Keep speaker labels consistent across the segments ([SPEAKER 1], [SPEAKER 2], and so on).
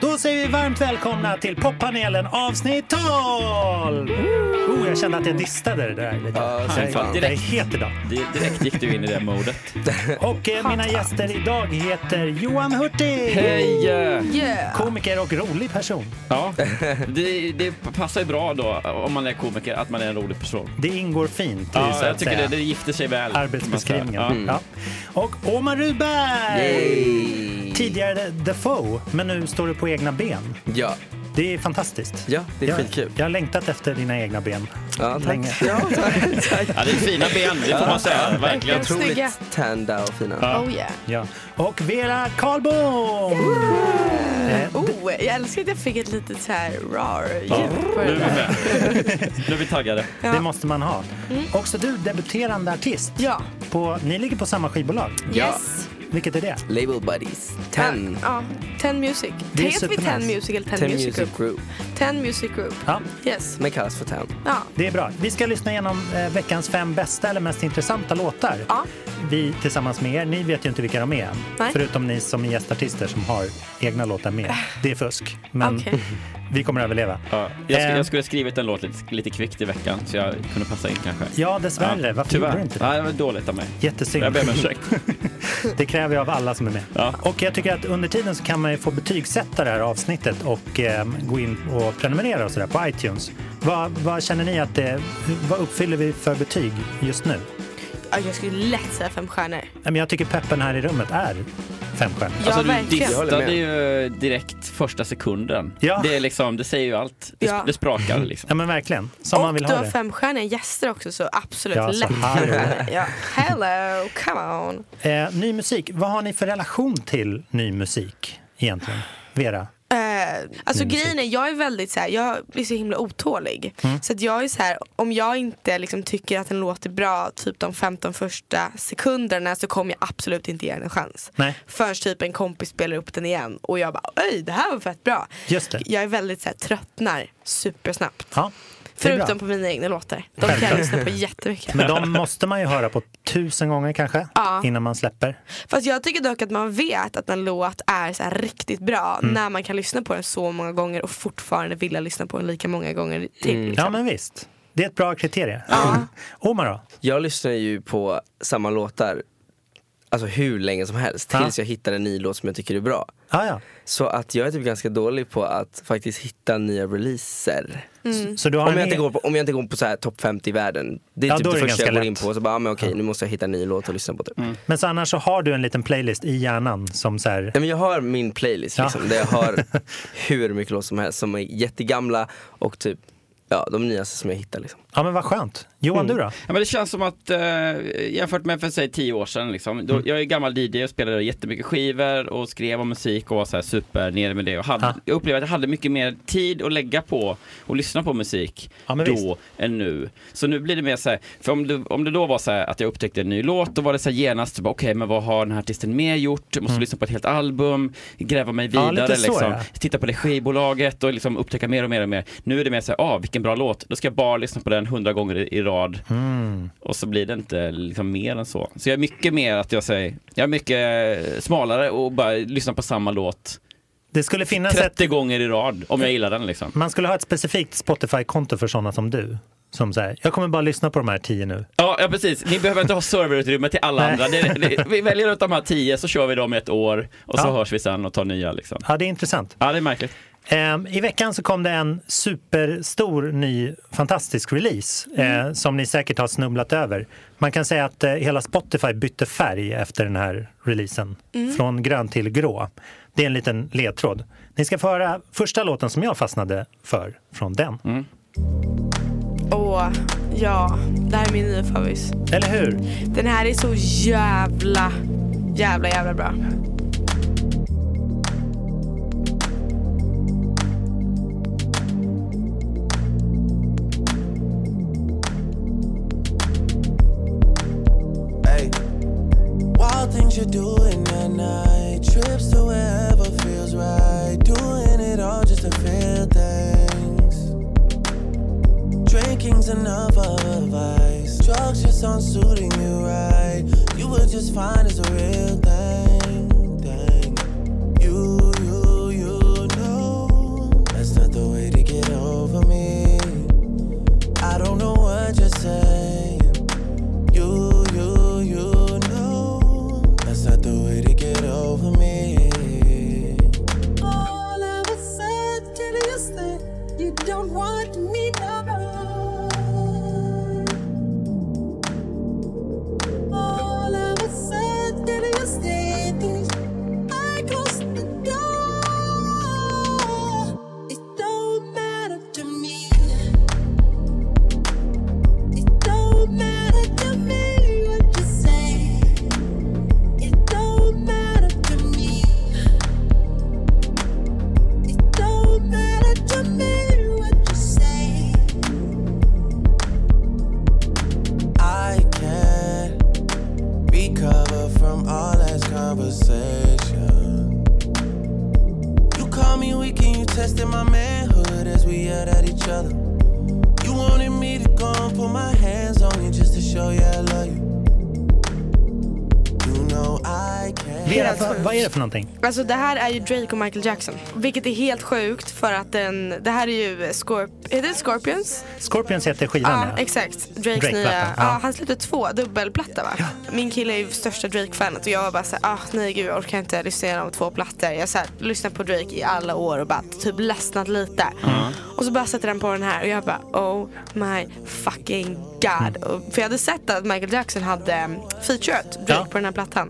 [SPEAKER 1] då säger vi varmt välkomna till poppanelen avsnitt 12! Oh, jag kände att jag distade det där lite.
[SPEAKER 2] Ja,
[SPEAKER 1] Fan,
[SPEAKER 2] sen fan.
[SPEAKER 1] jag är het idag.
[SPEAKER 2] Di- Direkt gick du in i det modet.
[SPEAKER 1] Och eh, mina gäster idag heter Johan Hurtig,
[SPEAKER 2] Hej!
[SPEAKER 3] Yeah.
[SPEAKER 1] komiker och rolig person.
[SPEAKER 2] Ja, det, det passar ju bra då om man är komiker att man är en rolig person.
[SPEAKER 1] Det ingår fint i så
[SPEAKER 2] Ja, jag
[SPEAKER 1] att
[SPEAKER 2] tycker det,
[SPEAKER 1] säga
[SPEAKER 2] det gifter sig väl.
[SPEAKER 1] arbetsbeskrivningen.
[SPEAKER 2] Ja.
[SPEAKER 1] Ja. Och Omar Rudberg!
[SPEAKER 4] Yay.
[SPEAKER 1] Tidigare The Foe, men nu står du på egna ben.
[SPEAKER 4] Ja,
[SPEAKER 1] Det är fantastiskt.
[SPEAKER 4] Ja, det är
[SPEAKER 1] jag,
[SPEAKER 4] skitkul.
[SPEAKER 1] Jag har längtat efter dina egna ben.
[SPEAKER 4] ja
[SPEAKER 1] Länge.
[SPEAKER 4] tack. Ja, tack, tack.
[SPEAKER 2] Ja, det är fina ben, det får man säga. Verkligen.
[SPEAKER 3] Verkligen. Snygga.
[SPEAKER 4] Otroligt tända och fina.
[SPEAKER 3] Oh yeah.
[SPEAKER 1] Ja. Och Vera Karlbom! Eh,
[SPEAKER 3] Oh, jag älskar att jag fick ett litet så här rar
[SPEAKER 2] Ja,
[SPEAKER 3] ljud på
[SPEAKER 2] nu är
[SPEAKER 3] det
[SPEAKER 2] vi
[SPEAKER 3] där.
[SPEAKER 2] med. Nu är vi taggade.
[SPEAKER 1] Det måste man ha. Också du, debuterande artist.
[SPEAKER 3] Ja.
[SPEAKER 1] På, ni ligger på samma skivbolag.
[SPEAKER 4] Ja.
[SPEAKER 3] Yes.
[SPEAKER 1] Vilket är det?
[SPEAKER 4] Label Buddies. Ten.
[SPEAKER 3] Ja, Ten Music.
[SPEAKER 1] Det är
[SPEAKER 3] Heter vi
[SPEAKER 1] supernice.
[SPEAKER 3] Ten Music eller Ten,
[SPEAKER 4] Ten
[SPEAKER 3] Music Group?
[SPEAKER 4] Music Group.
[SPEAKER 3] Ten Music Group.
[SPEAKER 1] Ja,
[SPEAKER 3] Yes.
[SPEAKER 4] Men kallas för Ten.
[SPEAKER 3] Ja.
[SPEAKER 1] det är bra. Vi ska lyssna igenom eh, veckans fem bästa eller mest intressanta låtar.
[SPEAKER 3] Ja.
[SPEAKER 1] Vi tillsammans med er. Ni vet ju inte vilka de är än.
[SPEAKER 3] Nej.
[SPEAKER 1] Förutom ni som är gästartister som har egna låtar med. Det är fusk. Men
[SPEAKER 3] Okej.
[SPEAKER 1] vi kommer överleva.
[SPEAKER 2] Ja, jag,
[SPEAKER 1] Eh,
[SPEAKER 2] sk- jag skulle ha skrivit en låt lite, lite kvickt i veckan så jag kunde passa in kanske.
[SPEAKER 1] Ja, dessvärre. Varför
[SPEAKER 2] Tyvärr.
[SPEAKER 1] gjorde du inte det?
[SPEAKER 2] Ja, det var dåligt av mig.
[SPEAKER 1] Jättesynd.
[SPEAKER 2] Jag ber om ursäkt.
[SPEAKER 1] Det kräver jag av alla som är med.
[SPEAKER 2] Ja.
[SPEAKER 1] Och jag tycker att under tiden så kan man ju få betygsätta det här avsnittet och eh, gå in och prenumerera och sådär på iTunes. Vad, vad känner ni att det, vad uppfyller vi för betyg just nu?
[SPEAKER 3] Ja, jag skulle lätt säga fem stjärnor.
[SPEAKER 1] Nej, men Jag tycker peppen här i rummet är fem stjärnor.
[SPEAKER 3] Ja,
[SPEAKER 2] alltså, du
[SPEAKER 3] verkligen.
[SPEAKER 4] Jag håller
[SPEAKER 2] distade
[SPEAKER 4] med.
[SPEAKER 2] ju direkt första sekunden.
[SPEAKER 1] Ja.
[SPEAKER 2] Det, är liksom, det säger ju allt. Det,
[SPEAKER 3] Ja.
[SPEAKER 2] det sprakar liksom.
[SPEAKER 1] Ja men verkligen, som man vill
[SPEAKER 3] och du
[SPEAKER 1] ha
[SPEAKER 3] har
[SPEAKER 1] det.
[SPEAKER 3] femstjärniga gäster också så absolut
[SPEAKER 1] Ja, så
[SPEAKER 3] lätt.
[SPEAKER 1] här.
[SPEAKER 3] Ja. Hello, come on.
[SPEAKER 1] Eh, ny musik, vad har ni för relation till ny musik egentligen? Vera?
[SPEAKER 3] Eh, alltså
[SPEAKER 1] Mm,
[SPEAKER 3] grejen är, jag är väldigt så här, jag är så himla otålig. Så att jag är så här, om jag inte liksom tycker att den låter bra typ de 15 första sekunderna så kommer jag absolut inte ge den en chans.
[SPEAKER 1] Nej.
[SPEAKER 3] Förrän typ en kompis spelar upp den igen och jag bara, oj det här var fett bra.
[SPEAKER 1] Just det.
[SPEAKER 3] Jag är väldigt så här, tröttnar supersnabbt.
[SPEAKER 1] Ja, det är bra.
[SPEAKER 3] Förutom på mina egna låtar. De kan jag
[SPEAKER 1] Självklart.
[SPEAKER 3] lyssna på jättemycket.
[SPEAKER 1] Men de måste man ju höra på tusen gånger kanske
[SPEAKER 3] Ja.
[SPEAKER 1] innan man släpper.
[SPEAKER 3] Fast jag tycker dock att man vet att en låt är så här riktigt bra
[SPEAKER 1] Mm.
[SPEAKER 3] när man kan lyssna på den så många gånger och fortfarande vilja lyssna på den lika många gånger till.
[SPEAKER 1] Ja men visst, det är ett bra kriterie.
[SPEAKER 3] Ja.
[SPEAKER 1] Omar då?
[SPEAKER 4] Jag lyssnar ju på samma låtar Alltså hur länge som helst
[SPEAKER 1] Ja.
[SPEAKER 4] tills jag hittar en ny låt som jag tycker är bra.
[SPEAKER 1] Ah, ja.
[SPEAKER 4] Så att jag är typ ganska dålig på att faktiskt hitta nya releaser.
[SPEAKER 1] Så du har
[SPEAKER 4] Om
[SPEAKER 1] en
[SPEAKER 4] jag, inte
[SPEAKER 1] e-
[SPEAKER 4] går på, om jag inte går på så här topp 50 i världen, det är
[SPEAKER 1] Ja,
[SPEAKER 4] typ
[SPEAKER 1] då är
[SPEAKER 4] det
[SPEAKER 1] det
[SPEAKER 4] första jag
[SPEAKER 1] ganska
[SPEAKER 4] går in
[SPEAKER 1] lätt. Mm.
[SPEAKER 4] på. Så bara, ah, men okej nu måste jag hitta en ny låt att lyssna på typ.
[SPEAKER 1] Men så annars så har du en liten playlist i hjärnan som så här,
[SPEAKER 4] Nej, men jag har min playlist
[SPEAKER 1] Ja.
[SPEAKER 4] liksom, där jag har hur mycket låtar som helst som är jättegamla och typ Ja, de nyaste som jag hittar liksom.
[SPEAKER 1] ja men vad skönt. Johan
[SPEAKER 4] Mm.
[SPEAKER 1] du då?
[SPEAKER 2] Ja, men det känns som att eh, jämfört med för säg tio år sedan liksom, då,
[SPEAKER 1] Mm.
[SPEAKER 2] jag är gammal DJ och spelade jättemycket skivor och skrev om musik och var så här super nere med det. Och hade,
[SPEAKER 1] Ja.
[SPEAKER 2] Jag upplevde att jag hade mycket mer tid att lägga på och lyssna på musik
[SPEAKER 1] Ja, men
[SPEAKER 2] då
[SPEAKER 1] visst.
[SPEAKER 2] än nu. Så nu blir det mer så här, för om det, om det då var så här att jag upptäckte en ny låt, då var det så här genast, bara, okej men vad har den här artisten mer gjort? Jag måste
[SPEAKER 1] Mm.
[SPEAKER 2] lyssna på ett helt album, gräva mig
[SPEAKER 1] Ja,
[SPEAKER 2] vidare
[SPEAKER 1] lite så,
[SPEAKER 2] liksom.
[SPEAKER 1] ja.
[SPEAKER 2] Titta på det skivbolaget och liksom upptäcka mer och mer och mer. Nu är det mer så här, ah vilken bra låt, då ska jag bara lyssna på den hundra gånger i, i rad.
[SPEAKER 1] Hmm.
[SPEAKER 2] Och så blir det inte liksom mer än så. Så jag är mycket mer att jag säger, jag är mycket eh, smalare och bara lyssnar på samma låt
[SPEAKER 1] Det skulle finnas ett,
[SPEAKER 2] 30 gånger i rad om jag gillar den liksom.
[SPEAKER 1] man skulle ha ett specifikt Spotify-konto för sådana som du. Som så här, jag kommer bara lyssna på de här tio nu.
[SPEAKER 2] Ja, ja precis, ni behöver inte ha serverutrymme till alla
[SPEAKER 1] Nej.
[SPEAKER 2] andra. Det, det, vi väljer ut de här 10 så kör vi dem i ett år och så
[SPEAKER 1] Ja.
[SPEAKER 2] hörs vi sen och tar nya liksom.
[SPEAKER 1] Ja, det är intressant.
[SPEAKER 2] Ja, det är märkligt.
[SPEAKER 1] Ehm, I veckan så kom det en superstor ny fantastisk release eh,
[SPEAKER 2] Mm.
[SPEAKER 1] som ni säkert har snubblat över. Man kan säga att eh, hela Spotify bytte färg efter den här releasen.
[SPEAKER 2] Mm.
[SPEAKER 1] Från grön till grå. Det är en liten ledtråd. Ni ska få höra första låten som jag fastnade för från den.
[SPEAKER 2] Mm.
[SPEAKER 3] Åh, ja. Det här är min nya favorit.
[SPEAKER 1] Eller hur?
[SPEAKER 3] Den här är så jävla, jävla, jävla bra.
[SPEAKER 5] Ay. Wild things you do in at night. Trips to wherever feels right. Doing it all just to feel things. Drinking's another vice. Drugs just aren't suiting you right. You were just fine as a real thing. thing. You, you, you know testing my manhood as we yelled at each other. You wanted me to go and put my hands on you just to show you I love you. You know I can't.
[SPEAKER 1] Vera,
[SPEAKER 3] Helt
[SPEAKER 1] vad-
[SPEAKER 3] sjukt.
[SPEAKER 1] vad är det för någonting?
[SPEAKER 3] Alltså det här är ju Drake och Michael Jackson. Vilket är helt sjukt för att den, det här är ju Scorp- heter det Scorpions?
[SPEAKER 1] Scorpions heter skivan,
[SPEAKER 3] Ja,
[SPEAKER 1] ja.
[SPEAKER 3] exakt. Drakes
[SPEAKER 1] Drake-plattan,
[SPEAKER 3] nya.
[SPEAKER 1] ja.
[SPEAKER 3] Ja. han släppte två dubbelplatta va? Min kille är ju största Drake-fanet och jag var bara såhär, ah, nej gud jag orkar inte lyssna igenom två plattor. Jag har lyssnat på Drake i alla år och bara typ ledsnat lite. Och så bara sätter han på den här och jag bara oh my fucking
[SPEAKER 1] Mm.
[SPEAKER 3] god. Och, för jag hade sett att Michael Jackson hade um, featured Drake
[SPEAKER 1] Ja.
[SPEAKER 3] på den här plattan.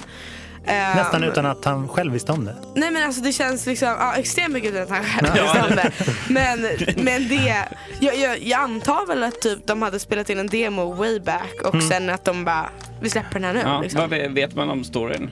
[SPEAKER 1] Nästan
[SPEAKER 3] Ehm,
[SPEAKER 1] utan att han själv visste om det.
[SPEAKER 3] Nej men alltså det känns liksom, ja extremt mycket utan att han själv
[SPEAKER 2] Ja.
[SPEAKER 3] bestämde. Men, men det, jag, jag, jag antar väl att typ de hade spelat in en demo way back och sen att de bara, vi släpper den här nu
[SPEAKER 2] Ja,
[SPEAKER 3] liksom.
[SPEAKER 2] Vad ve- vet man om storyn?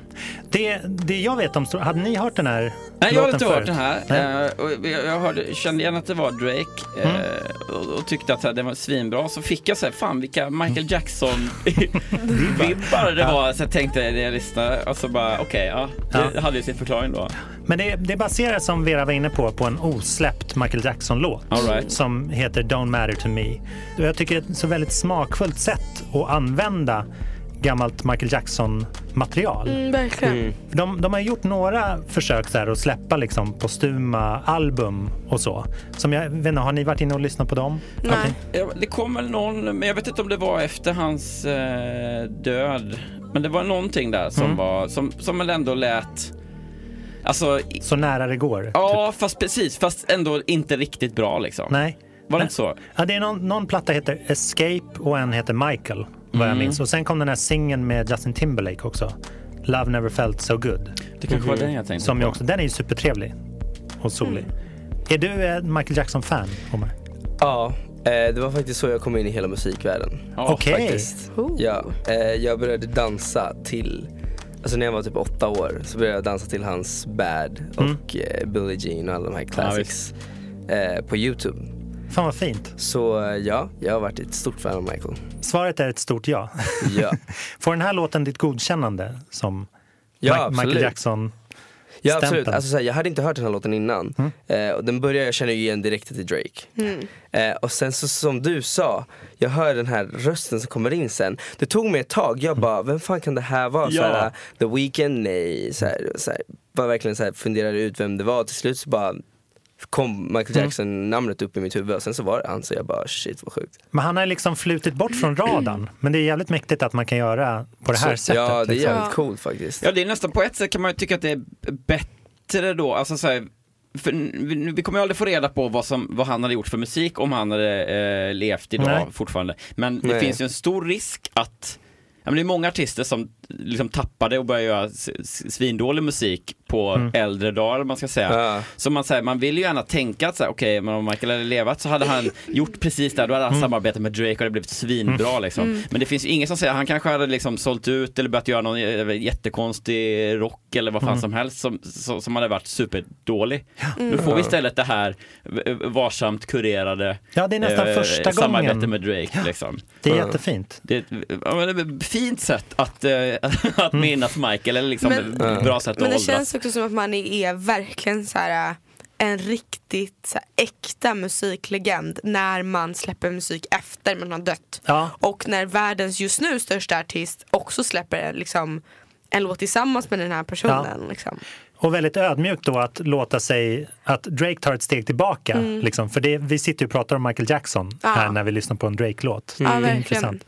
[SPEAKER 1] Det, det jag vet om, Stor- hade ni hört den här
[SPEAKER 2] Nej, jag har
[SPEAKER 1] låten
[SPEAKER 2] inte hört
[SPEAKER 1] förut?
[SPEAKER 2] den här.
[SPEAKER 1] Nej. Mm.
[SPEAKER 2] Eh, och jag jag hörde, kände igen att det var Drake eh, och, och tyckte att så här, den var svinbra. Så fick jag så här, fan vilka
[SPEAKER 1] Mm.
[SPEAKER 2] Michael Jackson-vibbar det var. Så jag tänkte när jag lyssnade och så bara okej, ja. Det
[SPEAKER 1] Ja.
[SPEAKER 2] hade ju sin förklaring då.
[SPEAKER 1] Men det, det baseras, som Vera var inne på, på en osläppt Michael Jackson-låt
[SPEAKER 2] All right.
[SPEAKER 1] som heter Don't Matter To Me. Och jag tycker det är ett så väldigt smakfullt sätt att använda gammalt Michael Jackson-material.
[SPEAKER 3] Mm, verkligen.
[SPEAKER 1] De, de har gjort några försök där att släppa liksom postuma album och så. Som jag, vet inte, har ni varit inne och lyssnat på dem?
[SPEAKER 3] Nej.
[SPEAKER 1] Någonting?
[SPEAKER 2] Ja, Det kom väl någon, men jag vet inte om det var efter hans eh, död. Men det var någonting där som
[SPEAKER 1] Mm.
[SPEAKER 2] var, som, som väl ändå lät, alltså, i-
[SPEAKER 1] Så nära det går?
[SPEAKER 2] ja fast precis, fast ändå inte riktigt bra liksom.
[SPEAKER 1] Nej.
[SPEAKER 2] Var det
[SPEAKER 1] Nej.
[SPEAKER 2] inte så?
[SPEAKER 1] Ja, det är någon, någon platta heter Escape och en heter Michael, vad
[SPEAKER 4] Mm.
[SPEAKER 1] jag minns. Och sen kom den här singeln med Justin Timberlake också. Love never felt so good.
[SPEAKER 2] Det kanske var den jag tänkte
[SPEAKER 1] Som
[SPEAKER 2] på.
[SPEAKER 1] ju också, den är ju supertrevlig och solig.
[SPEAKER 4] Mm.
[SPEAKER 1] Är du en Michael Jackson-fan, Omar?
[SPEAKER 4] Ja, eh, det var faktiskt så jag kom in i hela musikvärlden.
[SPEAKER 2] Ja,
[SPEAKER 1] Okej.
[SPEAKER 4] Faktiskt.
[SPEAKER 3] Oh.
[SPEAKER 4] Ja, eh, jag började dansa till, alltså när jag var typ åtta år så började jag dansa till hans Bad
[SPEAKER 1] Mm.
[SPEAKER 4] och eh, Billie Jean och alla de här classics eh, på Youtube.
[SPEAKER 1] Fan vad fint.
[SPEAKER 4] Så eh, ja, jag har varit ett stort fan av Michael.
[SPEAKER 1] Svaret är ett stort ja.
[SPEAKER 4] Ja,
[SPEAKER 1] Får den här låten ditt godkännande som
[SPEAKER 4] Ja,
[SPEAKER 1] Ma- Michael
[SPEAKER 4] absolut.
[SPEAKER 1] Jackson?
[SPEAKER 4] ja absolut.
[SPEAKER 1] Stämpeln. Mm.
[SPEAKER 4] Alltså, så här, jag hade inte hört den här låten innan. Eh, och den började, jag känner ju igen direkt till Drake. Eh, och sen så som du sa, jag hör den här rösten som kommer in sen. Det tog mig ett tag, jag bara, vem fan kan det här vara? Så här, The Weeknd? Nej. Så här, så här, bara verkligen så här, funderade ut vem det var. Till slut så bara kom Michael
[SPEAKER 1] Mm.
[SPEAKER 4] Jackson-namnet upp i mitt huvud och sen så var det han. Så jag bara, shit vad sjukt.
[SPEAKER 1] Men han har liksom flutit bort från radarn. Men det är jävligt mäktigt att man kan göra på det här
[SPEAKER 4] så,
[SPEAKER 1] sättet.
[SPEAKER 4] ja, det är
[SPEAKER 1] liksom.
[SPEAKER 4] jävligt
[SPEAKER 3] Ja.
[SPEAKER 4] coolt faktiskt.
[SPEAKER 2] Ja, det är nästan på ett sätt kan man ju tycka att det är bättre då. Alltså så här, för nu- vi kommer ju aldrig få reda på vad, som, vad han hade gjort för musik om han hade eh, levt idag
[SPEAKER 1] Nej.
[SPEAKER 2] fortfarande. Men det
[SPEAKER 4] Nej.
[SPEAKER 2] finns ju en stor risk att ja, men det är många artister som liksom tappade och började göra s- s- svindålig musik på äldre dagar, eller man ska säga.
[SPEAKER 4] Ja.
[SPEAKER 2] Så man, säger, man vill ju gärna tänka att så här, okej, men om Michael hade levat så hade han gjort precis det här, då hade han samarbetat med Drake och det hade blivit svinbra liksom. Men det finns ju ingen som säger, han kanske hade liksom sålt ut eller börjat göra någon eh, jättekonstig rock eller vad fan som helst som, som, som hade varit superdålig. Nu får vi istället det här eh, varsamt kurerade
[SPEAKER 1] Ja, det är nästan första
[SPEAKER 2] samarbete
[SPEAKER 1] gången.
[SPEAKER 2] med Drake liksom.
[SPEAKER 1] Det är
[SPEAKER 4] Ja.
[SPEAKER 1] jättefint.
[SPEAKER 2] Det är ett ja, men ett fint sätt att, eh, att minnas Michael, eller liksom
[SPEAKER 3] Men-
[SPEAKER 2] ett bra sätt att
[SPEAKER 3] Men det
[SPEAKER 2] åldras.
[SPEAKER 3] känns också som att man är, är verkligen så här äh, en riktigt så här, äkta musiklegend när man släpper musik efter man har dött.
[SPEAKER 1] Ja.
[SPEAKER 3] Och när världens just nu största artist också släpper en, liksom, en låt tillsammans med den här personen. Liksom.
[SPEAKER 1] Och väldigt ödmjukt då att låta sig, att Drake tar ett steg tillbaka. Liksom. För det, vi sitter ju och pratar om Michael Jackson
[SPEAKER 3] Mm. Ja.
[SPEAKER 1] här när vi lyssnar på en Drake-låt.
[SPEAKER 3] Ja,
[SPEAKER 1] Det är
[SPEAKER 3] verkligen.
[SPEAKER 1] intressant.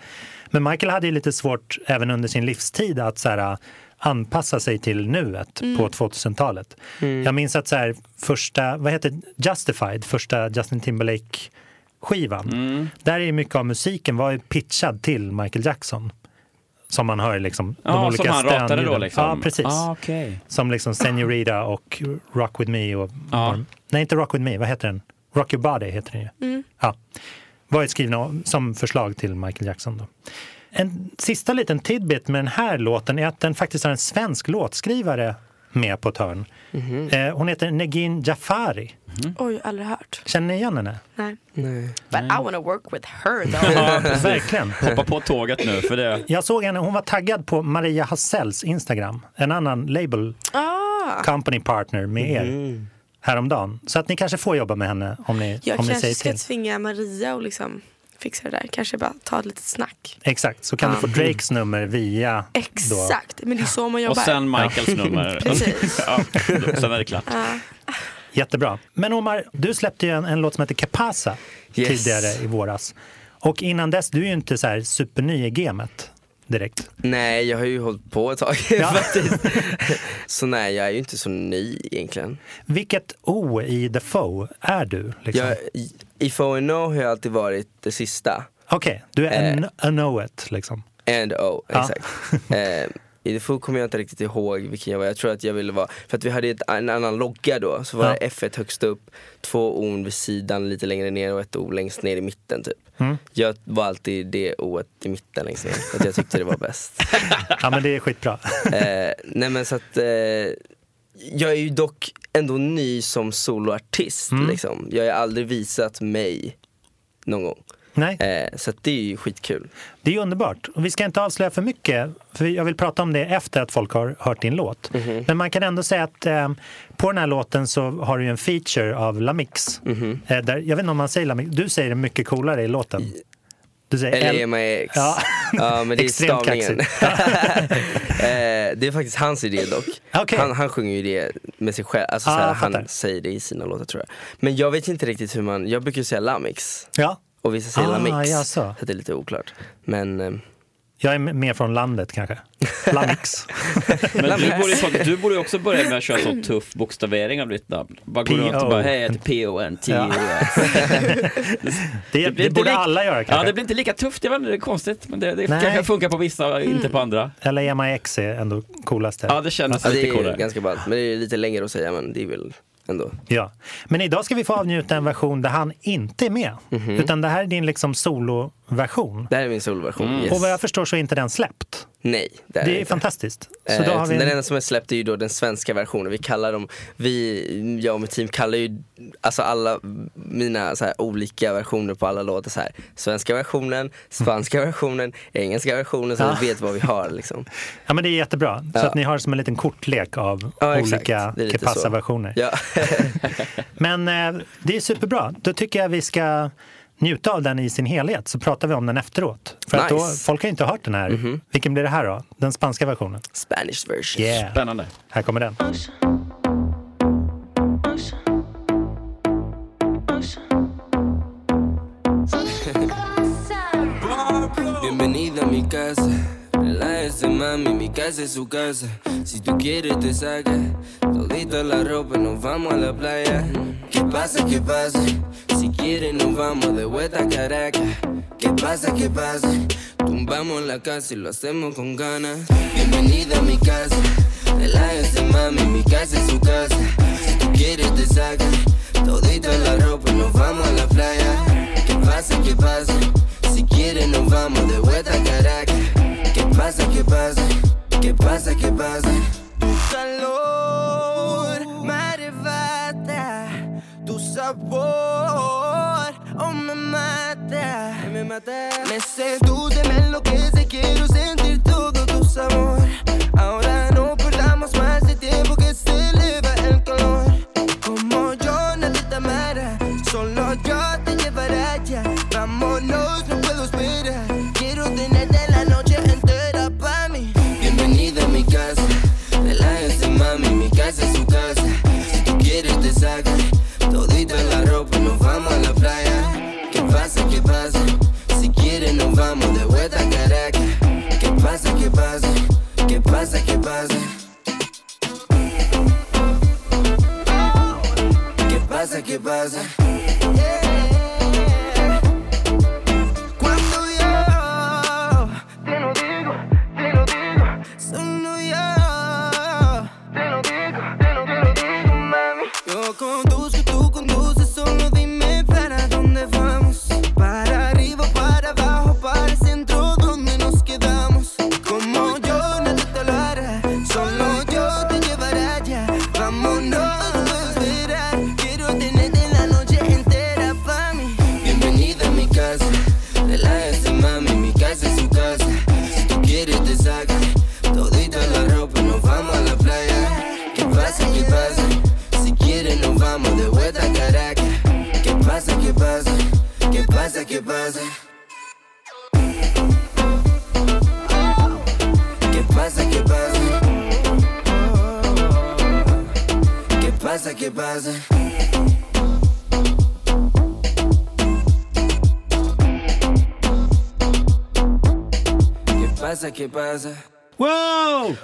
[SPEAKER 1] Men Michael hade ju lite svårt även under sin livstid att så här, äh, anpassa sig till nuet
[SPEAKER 3] Mm.
[SPEAKER 1] på 2000-talet.
[SPEAKER 2] Mm.
[SPEAKER 1] Jag minns att så här, första, vad heter Justified, första Justin Timberlake skivan.
[SPEAKER 2] Mm.
[SPEAKER 1] Där är ju mycket av musiken var ju pitchad till Michael Jackson. Som man hör liksom, de
[SPEAKER 2] ja,
[SPEAKER 1] olika
[SPEAKER 2] som han ratade då
[SPEAKER 1] stönljuden.
[SPEAKER 2] liksom.
[SPEAKER 1] Ja, precis.
[SPEAKER 2] Ah, okej.
[SPEAKER 1] Som liksom Senorita och Rock With Me och...
[SPEAKER 2] Ja.
[SPEAKER 1] Nej, inte Rock With Me, vad heter den? Rock Your Body heter den ju. Ja. Var ju skrivna som förslag till Michael Jackson då. En sista liten tidbit med den här låten är att den faktiskt har en svensk låtskrivare med på ett hörn. Eh, hon heter Negin Jafari.
[SPEAKER 3] Oj, aldrig hört.
[SPEAKER 1] Känner ni igen henne?
[SPEAKER 3] Nej.
[SPEAKER 4] Nej.
[SPEAKER 3] But
[SPEAKER 1] Mm.
[SPEAKER 3] I wanna work with her though.
[SPEAKER 2] Ja, precis.
[SPEAKER 1] Verkligen.
[SPEAKER 2] Hoppa på tåget nu för det.
[SPEAKER 1] Jag såg henne, hon var taggad på Maria Hassells Instagram, en annan label
[SPEAKER 3] ah,
[SPEAKER 4] Mm.
[SPEAKER 1] company partner med er. häromdagen. Så att ni kanske får jobba med henne om ni,
[SPEAKER 3] Jag
[SPEAKER 1] om ni
[SPEAKER 3] kanske
[SPEAKER 1] säger
[SPEAKER 3] ska
[SPEAKER 1] till.
[SPEAKER 3] tvinga Maria och liksom fixa det där. Kanske bara ta ett litet snack.
[SPEAKER 1] Exakt, så kan du
[SPEAKER 4] Ah.
[SPEAKER 1] få Drakes nummer via... då-
[SPEAKER 3] Exakt, men det är så man jobbar.
[SPEAKER 2] Och sen Michaels nummer.
[SPEAKER 3] Precis.
[SPEAKER 2] ja, sen är det klart.
[SPEAKER 1] Jättebra. Men Omar, du släppte ju en, en låt som heter Capasa
[SPEAKER 4] Yes.
[SPEAKER 1] tidigare i våras. Och innan dess, du är ju inte så här superny i gamet direkt.
[SPEAKER 4] Nej, jag har ju hållit på ett tag
[SPEAKER 1] Ja.
[SPEAKER 4] faktiskt. Så nej, jag är ju inte så ny egentligen.
[SPEAKER 1] Vilket O i The Foe är du? Liksom?
[SPEAKER 4] Jag, i- I FONO har jag alltid varit det sista.
[SPEAKER 1] Okej, du är
[SPEAKER 4] Eh.
[SPEAKER 1] en a know it liksom.
[SPEAKER 4] And O,
[SPEAKER 1] Ja.
[SPEAKER 4] exakt. eh, I The Fool kommer jag inte riktigt ihåg vilken jag var. Jag tror att jag ville vara, för att vi hade ett, en annan logga då. Så var
[SPEAKER 1] Ja.
[SPEAKER 4] det F1 högst upp, två O vid sidan lite längre ner och ett O längst ner i mitten typ.
[SPEAKER 1] Mm.
[SPEAKER 4] Jag var alltid det O i mitten längst ner, för att jag tyckte det var bäst.
[SPEAKER 1] Ja, men det är skitbra.
[SPEAKER 4] Eh, nej men så att eh, jag är ju dock ändå ny som soloartist
[SPEAKER 1] Mm.
[SPEAKER 4] liksom. Jag har ju aldrig visat mig någon gång.
[SPEAKER 1] Nej,
[SPEAKER 4] Eh, så att det är ju skitkul.
[SPEAKER 1] det är underbart. Och vi ska inte avslöja för mycket, för jag vill prata om det efter att folk har hört din låt. Men man kan ändå säga att eh, på den här låten så har du ju en feature av Lamix. Eh, där, jag vet inte om man säger Lamix, du säger det mycket coolare i låten. Du säger
[SPEAKER 4] Eller
[SPEAKER 1] L-
[SPEAKER 4] är man ex?
[SPEAKER 1] Ja.
[SPEAKER 4] ja men det är
[SPEAKER 1] Extremt
[SPEAKER 4] stavningen. eh, det är faktiskt hans idé dock.
[SPEAKER 1] Okej.
[SPEAKER 4] Han, han sjunger ju det med sig själv, alltså
[SPEAKER 1] Ah,
[SPEAKER 4] såhär,
[SPEAKER 1] jag fattar.
[SPEAKER 4] han säger det i sina låtar tror jag. Men jag vet inte riktigt hur man, jag brukar ju säga Lamix
[SPEAKER 1] Ja,
[SPEAKER 4] och vissa säger
[SPEAKER 1] Ah,
[SPEAKER 4] Lamix.
[SPEAKER 1] ja,
[SPEAKER 4] så
[SPEAKER 1] så.
[SPEAKER 4] att det är lite oklart. Men eh,
[SPEAKER 1] jag är mer från landet kanske. Lamix.
[SPEAKER 2] Men du borde, ju få- du borde ju också börja med att köra så tuff bokstavering av ditt namn. Bara gå runt och bara, hej jag heter P-O-N-T.
[SPEAKER 1] Ja. Det, det,
[SPEAKER 2] blir inte
[SPEAKER 1] borde
[SPEAKER 2] lik-
[SPEAKER 1] alla göra
[SPEAKER 2] Ja,
[SPEAKER 1] kanske.
[SPEAKER 2] det blir inte lika tufft, jag vet inte, det är konstigt. Men det, det
[SPEAKER 1] Nej.
[SPEAKER 2] kanske funkar på vissa, inte på andra.
[SPEAKER 1] Eller EMAX är ändå coolaste.
[SPEAKER 2] Ja, det kändes
[SPEAKER 4] ja, det
[SPEAKER 2] lite
[SPEAKER 4] är ju
[SPEAKER 2] coolare.
[SPEAKER 4] ganska ballt. Men det är lite längre att säga men det är väl ändå.
[SPEAKER 1] Ja. Men idag ska vi få avnjuta en version där han inte är med. Utan det här är din liksom soloversion.
[SPEAKER 4] Det här är min solversion.
[SPEAKER 2] Mm.
[SPEAKER 4] Yes.
[SPEAKER 1] Och vad jag förstår så är inte den släppt.
[SPEAKER 4] Nej, det är
[SPEAKER 1] Det
[SPEAKER 4] det
[SPEAKER 1] är
[SPEAKER 4] inte.
[SPEAKER 1] fantastiskt. Så
[SPEAKER 4] Eh,
[SPEAKER 1] då har vi
[SPEAKER 4] Den
[SPEAKER 1] en...
[SPEAKER 4] enda som är släppt är ju då den svenska versionen. Vi kallar dem, vi, jag och mitt team kallar ju alltså alla mina så här, olika versioner på alla låtar så här. Svenska versionen, spanska versionen, engelska versionen så
[SPEAKER 1] Ja.
[SPEAKER 4] vi vet vad vi har liksom.
[SPEAKER 1] Ja, men det är jättebra. Så
[SPEAKER 4] Ja.
[SPEAKER 1] att ni har som en liten kortlek av
[SPEAKER 4] Ja, exakt.
[SPEAKER 1] olika
[SPEAKER 4] Det är lite så.
[SPEAKER 1] Kepassa-versioner.
[SPEAKER 4] Ja.
[SPEAKER 1] Men eh, det är superbra. Då tycker jag vi ska njuta av den i sin helhet så pratar vi om den efteråt. För att då,
[SPEAKER 4] Nice. Mhm.
[SPEAKER 1] folk har ju inte hört den här. Vilken blir det här då? Den spanska versionen?
[SPEAKER 4] Spanish version.
[SPEAKER 1] Yeah,
[SPEAKER 2] Spännande.
[SPEAKER 1] här kommer den.
[SPEAKER 5] Bienvenida a mi casa. Relájese, mami, mi casa es su casa. Si tú quieres, te saca todita la ropa, nos vamos a la playa. ¿Qué pasa, qué pasa? Si quieres, nos vamos de vuelta a Caracas. ¿Qué pasa, qué pasa? Tumbamos la casa y lo hacemos con ganas. Bienvenida a mi casa. Relájese, mami, mi casa es su casa. Si tú quieres, te saca todita la ropa, nos vamos a la playa. ¿Qué pasa, qué pasa? Si quieres nos vamos de vuelta a Caracas. ¿Qué pasa, qué pasa? ¿Qué pasa, qué pasa? Tu calor me arrebata, tu sabor oh, me mata, me mata. Me seduce, me enloquece, quiero sentir todo tu sabor. Ahora no perdamos más el tiempo que se eleva el calor. Como yo, nadie te amará, solo yo te llevaré allá. Vámonos, no puedo esperar. Quiero tenerte la noche entera pa' mí. Bienvenida a mi casa, relájese mami, mi casa es su casa. Si tú quieres te saca todita la ropa, nos vamos a la playa. ¿Qué pasa, qué pasa? Si quieres nos vamos de vuelta a Caracas. ¿Qué pasa, qué pasa? ¿Qué pasa, qué pasa? ¿Qué pasa, qué pasa? Cuando yo te lo digo, te lo digo, solo yo te lo digo, te lo, te lo digo, mami. Yo conduzco, tú conduces, solo dime para dónde vamos. Para arriba, para abajo, para el centro donde nos quedamos. Como yo nadie te lo hará, solo yo te llevaré allá. Vámonos, no puedo esperar, quiero tenerte la noche entera. pasa? ¿Qué pasa? ¿Qué pasa? ¿Qué pasa? ¿Qué pasa? ¿Qué pasa? ¿Qué pasa?
[SPEAKER 2] Wow!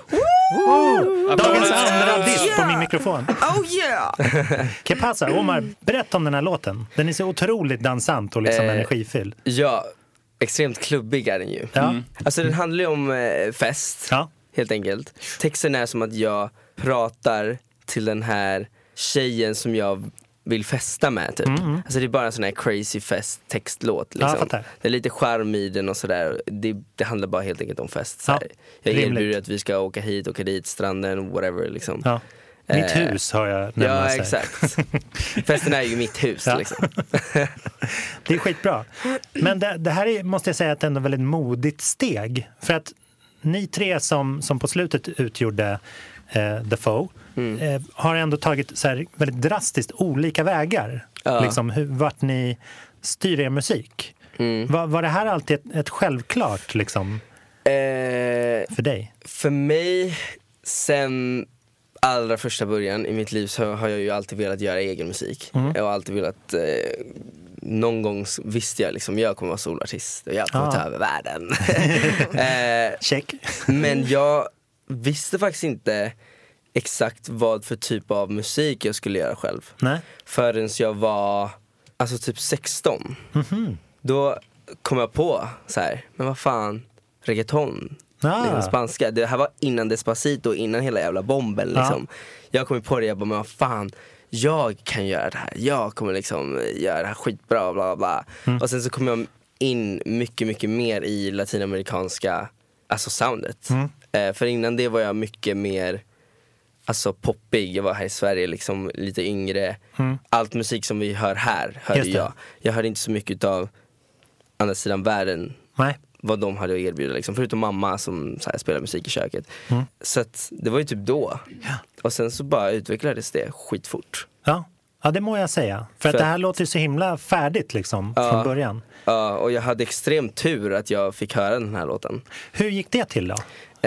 [SPEAKER 1] Dagens
[SPEAKER 2] Applåder.
[SPEAKER 1] andra diss på
[SPEAKER 3] Ja.
[SPEAKER 1] min mikrofon.
[SPEAKER 3] Oh yeah!
[SPEAKER 1] Ke pasa, Omar, berätta om den här låten. Den är så otroligt dansant och liksom
[SPEAKER 4] Eh.
[SPEAKER 1] energifylld.
[SPEAKER 4] Ja, extremt klubbig är den ju.
[SPEAKER 1] Ja.
[SPEAKER 4] Alltså den handlar ju om eh, fest,
[SPEAKER 1] Ja.
[SPEAKER 4] helt enkelt. Texten är som att jag pratar till den här tjejen som jag vill festa med typ. Alltså det är bara en sån här crazy fest textlåt.
[SPEAKER 1] Mm, jag
[SPEAKER 4] Liksom.
[SPEAKER 1] fattar.
[SPEAKER 4] det är lite charm i den och sådär. Det, det handlar bara helt enkelt om fest. Så
[SPEAKER 1] Ja,
[SPEAKER 4] här. Jag
[SPEAKER 1] rimligt.
[SPEAKER 4] erbjuder att vi ska åka hit, åka dit, stranden, whatever liksom.
[SPEAKER 1] Ja. Mitt
[SPEAKER 4] Eh.
[SPEAKER 1] hus har jag
[SPEAKER 4] Ja,
[SPEAKER 1] nämnas här.
[SPEAKER 4] exakt. Festen är ju mitt hus
[SPEAKER 1] Ja.
[SPEAKER 4] liksom.
[SPEAKER 1] Det är skitbra. Men det, det här är, måste jag säga, ett ändå väldigt modigt steg. För att ni tre som, som på slutet utgjorde eh, The Foe
[SPEAKER 4] Mm.
[SPEAKER 1] eh, har ändå tagit så här väldigt drastiskt olika vägar.
[SPEAKER 4] Ja.
[SPEAKER 1] Liksom hur, vart ni styr er musik.
[SPEAKER 4] Mm.
[SPEAKER 1] Var, var det här alltid ett, ett självklart liksom,
[SPEAKER 4] Eh,
[SPEAKER 1] för dig?
[SPEAKER 4] För mig, sen allra första början i mitt liv så har jag ju alltid velat göra egen musik.
[SPEAKER 1] Mm.
[SPEAKER 4] Jag har alltid velat, eh, någon gång s- visste jag liksom, jag kommer vara solartist och jag kommer
[SPEAKER 1] Ah.
[SPEAKER 4] ta över världen. eh,
[SPEAKER 1] Check.
[SPEAKER 4] men jag visste faktiskt inte exakt vad för typ av musik jag skulle göra själv
[SPEAKER 1] Nej?
[SPEAKER 4] förrän jag var alltså typ 16.
[SPEAKER 1] Mhm.
[SPEAKER 4] Då kom jag på så här, men vad fan, reggaeton,
[SPEAKER 1] Ah.
[SPEAKER 4] liksom spanska. Det här var innan Despacito och innan hela jävla bomben liksom. Jag kom ju på det, jag bara, men vad fan, jag kan göra det här. Jag kommer liksom göra det här skitbra, bla bla bla. Och sen så kom jag in mycket, mycket mer i latinamerikanska, alltså soundet. Eh, för innan det var jag mycket mer alltså poppig, jag var här i Sverige liksom lite yngre. Allt musik som vi hör här hörde
[SPEAKER 1] Mm. Just det.
[SPEAKER 4] jag. Jag hörde inte så mycket av andra sidan världen,
[SPEAKER 1] Nej.
[SPEAKER 4] vad de hade att erbjuda liksom. Förutom mamma som så här, spelade musik i köket.
[SPEAKER 1] Mm.
[SPEAKER 4] Så att, det var ju typ då. Och sen så bara utvecklades det skitfort.
[SPEAKER 1] Ja. ja, det må jag säga. För att
[SPEAKER 4] För-
[SPEAKER 1] det här låter ju så himla färdigt liksom, från början.
[SPEAKER 4] Ja, och jag hade extrem tur att jag fick höra den här låten.
[SPEAKER 1] Hur gick det till då?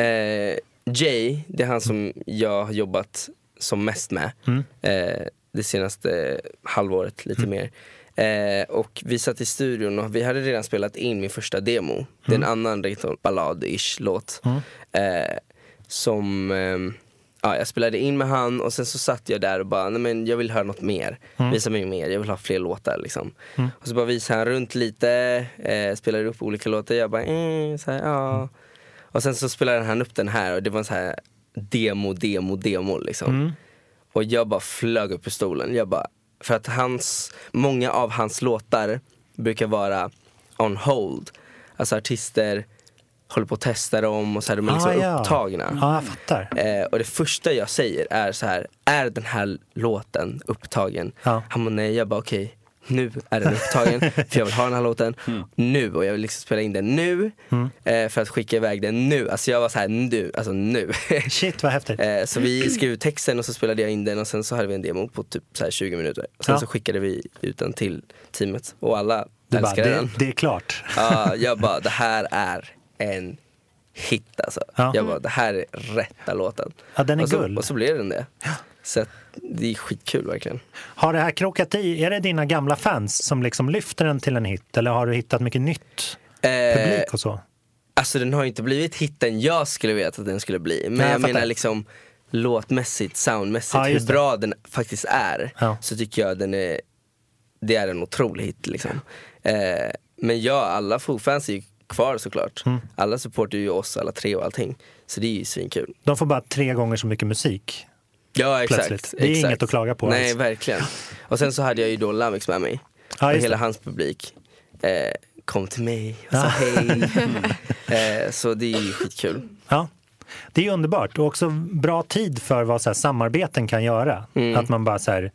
[SPEAKER 4] Eh, Jay, det är han som jag har jobbat som mest med eh, det senaste halvåret, lite mer. Eh, och vi satt i studion och vi hade redan spelat in min första demo. Det är en annan reggaeton- ballad-ish låt. Eh, som, ehm, ja, jag spelade in med han och sen så satt jag där och bara, nej men jag vill höra något mer. Visa mig mer, jag vill ha fler låtar liksom. Och så bara visade han runt lite, eh, spelade upp olika låtar. Jag bara, eh, så här, ja. Och sen så spelade han upp den här och det var en så här demo, demo, demo liksom.
[SPEAKER 1] Mm.
[SPEAKER 4] Och jag bara flög upp ur stolen. Jag bara, för att hans, många av hans låtar brukar vara on hold. Alltså artister håller på att testa dem och så här, de är liksom upptagna.
[SPEAKER 1] Ah, Ja, jag fattar.
[SPEAKER 4] Eh, och det första jag säger är så här, är den här låten upptagen?
[SPEAKER 1] Ja.
[SPEAKER 4] Han bara nej, jag bara okej, nu är den upptagen för jag vill ha den här låten
[SPEAKER 1] Mm.
[SPEAKER 4] nu och jag vill liksom spela in den nu eh, för att skicka iväg den nu. Alltså jag var så här nu, alltså nu.
[SPEAKER 1] Shit vad häftigt.
[SPEAKER 4] Eh, Så vi skrev ut texten och så spelade jag in den och sen så hade vi en demo på typ så här 20 minuter. Sen
[SPEAKER 1] Ja.
[SPEAKER 4] så skickade vi ut den till teamet och alla
[SPEAKER 1] Du bara,
[SPEAKER 4] älskade
[SPEAKER 1] det,
[SPEAKER 4] den.
[SPEAKER 1] det är klart.
[SPEAKER 4] Ja, jag bara, det här är en hit alltså.
[SPEAKER 1] Ja.
[SPEAKER 4] Jag bara, det här är rätta låten.
[SPEAKER 1] Ja, den är
[SPEAKER 4] och så,
[SPEAKER 1] guld.
[SPEAKER 4] Och så blev den det. Så att, det är skitkul verkligen.
[SPEAKER 1] Har det här krokat i? Är det dina gamla fans som liksom lyfter den till en hit eller har du hittat mycket nytt
[SPEAKER 4] Eh,
[SPEAKER 1] publik och så?
[SPEAKER 4] alltså den har ju inte blivit hitten jag skulle veta att den skulle bli. Men
[SPEAKER 1] Nej, jag
[SPEAKER 4] jag
[SPEAKER 1] fattar.
[SPEAKER 4] menar liksom låtmässigt, soundmässigt,
[SPEAKER 1] Ja,
[SPEAKER 4] hur
[SPEAKER 1] just det.
[SPEAKER 4] bra den faktiskt är.
[SPEAKER 1] Ja.
[SPEAKER 4] Så tycker jag den är, det är en otrolig hit liksom. Eh, men ja, alla Foo-fans är ju kvar såklart.
[SPEAKER 1] Mm.
[SPEAKER 4] Alla supportar ju oss alla tre och allting. Så det är ju svinkul.
[SPEAKER 1] De får bara tre gånger så mycket musik.
[SPEAKER 4] Ja exakt.
[SPEAKER 1] plötsligt. Det är
[SPEAKER 4] exakt.
[SPEAKER 1] inget att klaga på
[SPEAKER 4] Nej
[SPEAKER 1] alls.
[SPEAKER 4] verkligen. Och sen så hade jag ju då Lamix med mig.
[SPEAKER 1] Ja,
[SPEAKER 4] och
[SPEAKER 1] just
[SPEAKER 4] hela
[SPEAKER 1] det.
[SPEAKER 4] hans publik eh, kom till mig och sa hej. eh, så det är ju skitkul.
[SPEAKER 1] Ja. Det är ju underbart och också bra tid för vad så här, samarbeten kan göra. Att man bara så här,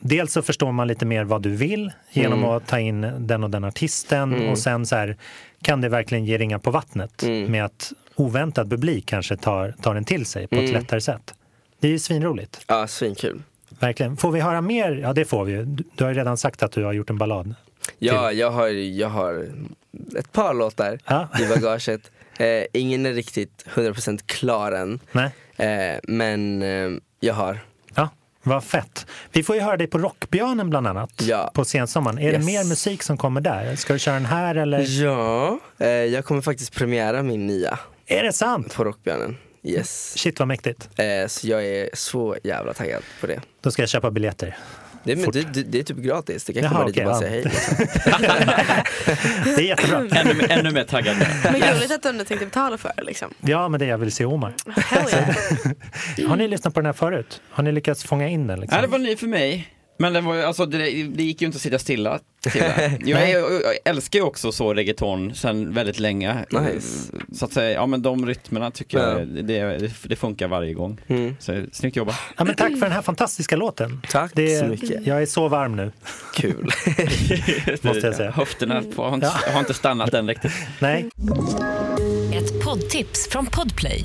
[SPEAKER 1] dels så förstår man lite mer vad du vill genom att ta in den och den artisten och sen så här, kan det verkligen ge ringar på vattnet med att oväntad publik kanske tar, tar den till sig på ett lättare sätt. Det är ju svinroligt.
[SPEAKER 4] Ja, svinkul.
[SPEAKER 1] Verkligen. Får vi höra mer? Ja, det får vi ju. Du du har ju redan sagt att du har gjort en ballad.
[SPEAKER 4] Ja, jag har, jag har ett par låtar
[SPEAKER 1] Ja.
[SPEAKER 4] i bagaget. Eh, ingen är riktigt 100% klar än.
[SPEAKER 1] Nej.
[SPEAKER 4] Eh, men eh, jag har.
[SPEAKER 1] Ja, vad fett. Vi får ju höra dig på Rockbjörnen bland annat
[SPEAKER 4] Ja.
[SPEAKER 1] på sensommaren. Är det
[SPEAKER 4] Yes.
[SPEAKER 1] mer musik som kommer där? Ska du köra den här eller?
[SPEAKER 4] Ja, eh, jag kommer faktiskt premiära min nya
[SPEAKER 1] Är det sant?
[SPEAKER 4] på Rockbjörnen. Yes.
[SPEAKER 1] Shit vad mäktigt.
[SPEAKER 4] Eh, så jag är så jävla taggad på det.
[SPEAKER 1] Då ska jag köpa biljetter.
[SPEAKER 4] Det, men
[SPEAKER 1] Fort.
[SPEAKER 4] det, det, det är typ gratis, det kan
[SPEAKER 1] Jaha,
[SPEAKER 4] komma dit och
[SPEAKER 1] okej,
[SPEAKER 4] bara
[SPEAKER 1] ja.
[SPEAKER 4] säga hej. liksom.
[SPEAKER 1] Det är jättebra.
[SPEAKER 2] Ännu, ännu mer taggad nu.
[SPEAKER 3] Men roligt att du ändå tänkte betala för det liksom.
[SPEAKER 1] Ja, men det är jag vill se Omar.
[SPEAKER 3] Hell yeah.
[SPEAKER 1] Har ni lyssnat på den här förut? Har ni lyckats fånga in den?
[SPEAKER 2] Ja, det
[SPEAKER 1] Liksom?
[SPEAKER 2] var ny för mig. Men det, var, ju- alltså, det, det gick ju inte att sitta stilla. till det. Jag, är, jag, jag älskar ju också så reggaeton sedan väldigt länge.
[SPEAKER 4] Nice.
[SPEAKER 2] Så att säga, ja men de rytmerna tycker
[SPEAKER 4] Ja.
[SPEAKER 2] jag, det, det, det funkar varje gång.
[SPEAKER 4] Mm.
[SPEAKER 2] Så snyggt jobbat.
[SPEAKER 1] Ja, men tack för den här fantastiska låten.
[SPEAKER 4] Tack
[SPEAKER 1] Det,
[SPEAKER 4] så mycket.
[SPEAKER 1] Jag är så varm nu,
[SPEAKER 4] Kul.
[SPEAKER 1] måste jag säga.
[SPEAKER 2] Höfterna på, har, inte, har inte stannat än riktigt.
[SPEAKER 1] Nej,
[SPEAKER 6] Ett poddtips från Podplay.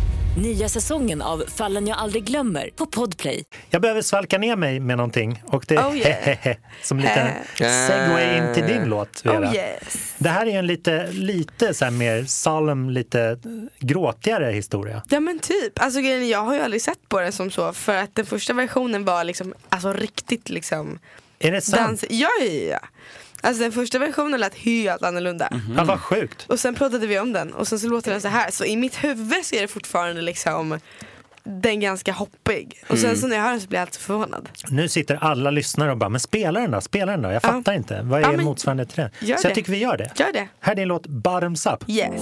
[SPEAKER 6] Nya säsongen av Fallen jag aldrig glömmer på Podplay.
[SPEAKER 1] jag behöver svalka ner mig med någonting och det är
[SPEAKER 3] Oh, yeah.
[SPEAKER 1] hehehe, som lite segway in till din låt, Vera.
[SPEAKER 3] Oh yes.
[SPEAKER 1] Det här är ju en lite, lite så här mer solemn, lite gråtigare historia.
[SPEAKER 3] Ja men typ, alltså grejen är, jag har ju aldrig sett på den som så för att den första versionen var liksom, alltså riktigt liksom
[SPEAKER 1] Är det sant?
[SPEAKER 3] dans, ja ja ja Alltså den första versionen lät helt annorlunda
[SPEAKER 1] Ja, vad sjukt.
[SPEAKER 3] Och sen pratade vi om den och sen så låter den så här Så i mitt huvud så är det fortfarande liksom den ganska hoppig Och sen så när jag hör den så blir jag alltid förvånad
[SPEAKER 1] Nu sitter alla lyssnare och bara, men spela den då, spela den då. Jag
[SPEAKER 3] Ja.
[SPEAKER 1] fattar inte. Vad är
[SPEAKER 3] Ja, men-
[SPEAKER 1] motsvarande till den?
[SPEAKER 3] Gör
[SPEAKER 1] Så jag
[SPEAKER 3] det.
[SPEAKER 1] tycker vi gör det.
[SPEAKER 3] Gör det,
[SPEAKER 1] Här är din låt Bottoms Up.
[SPEAKER 3] yes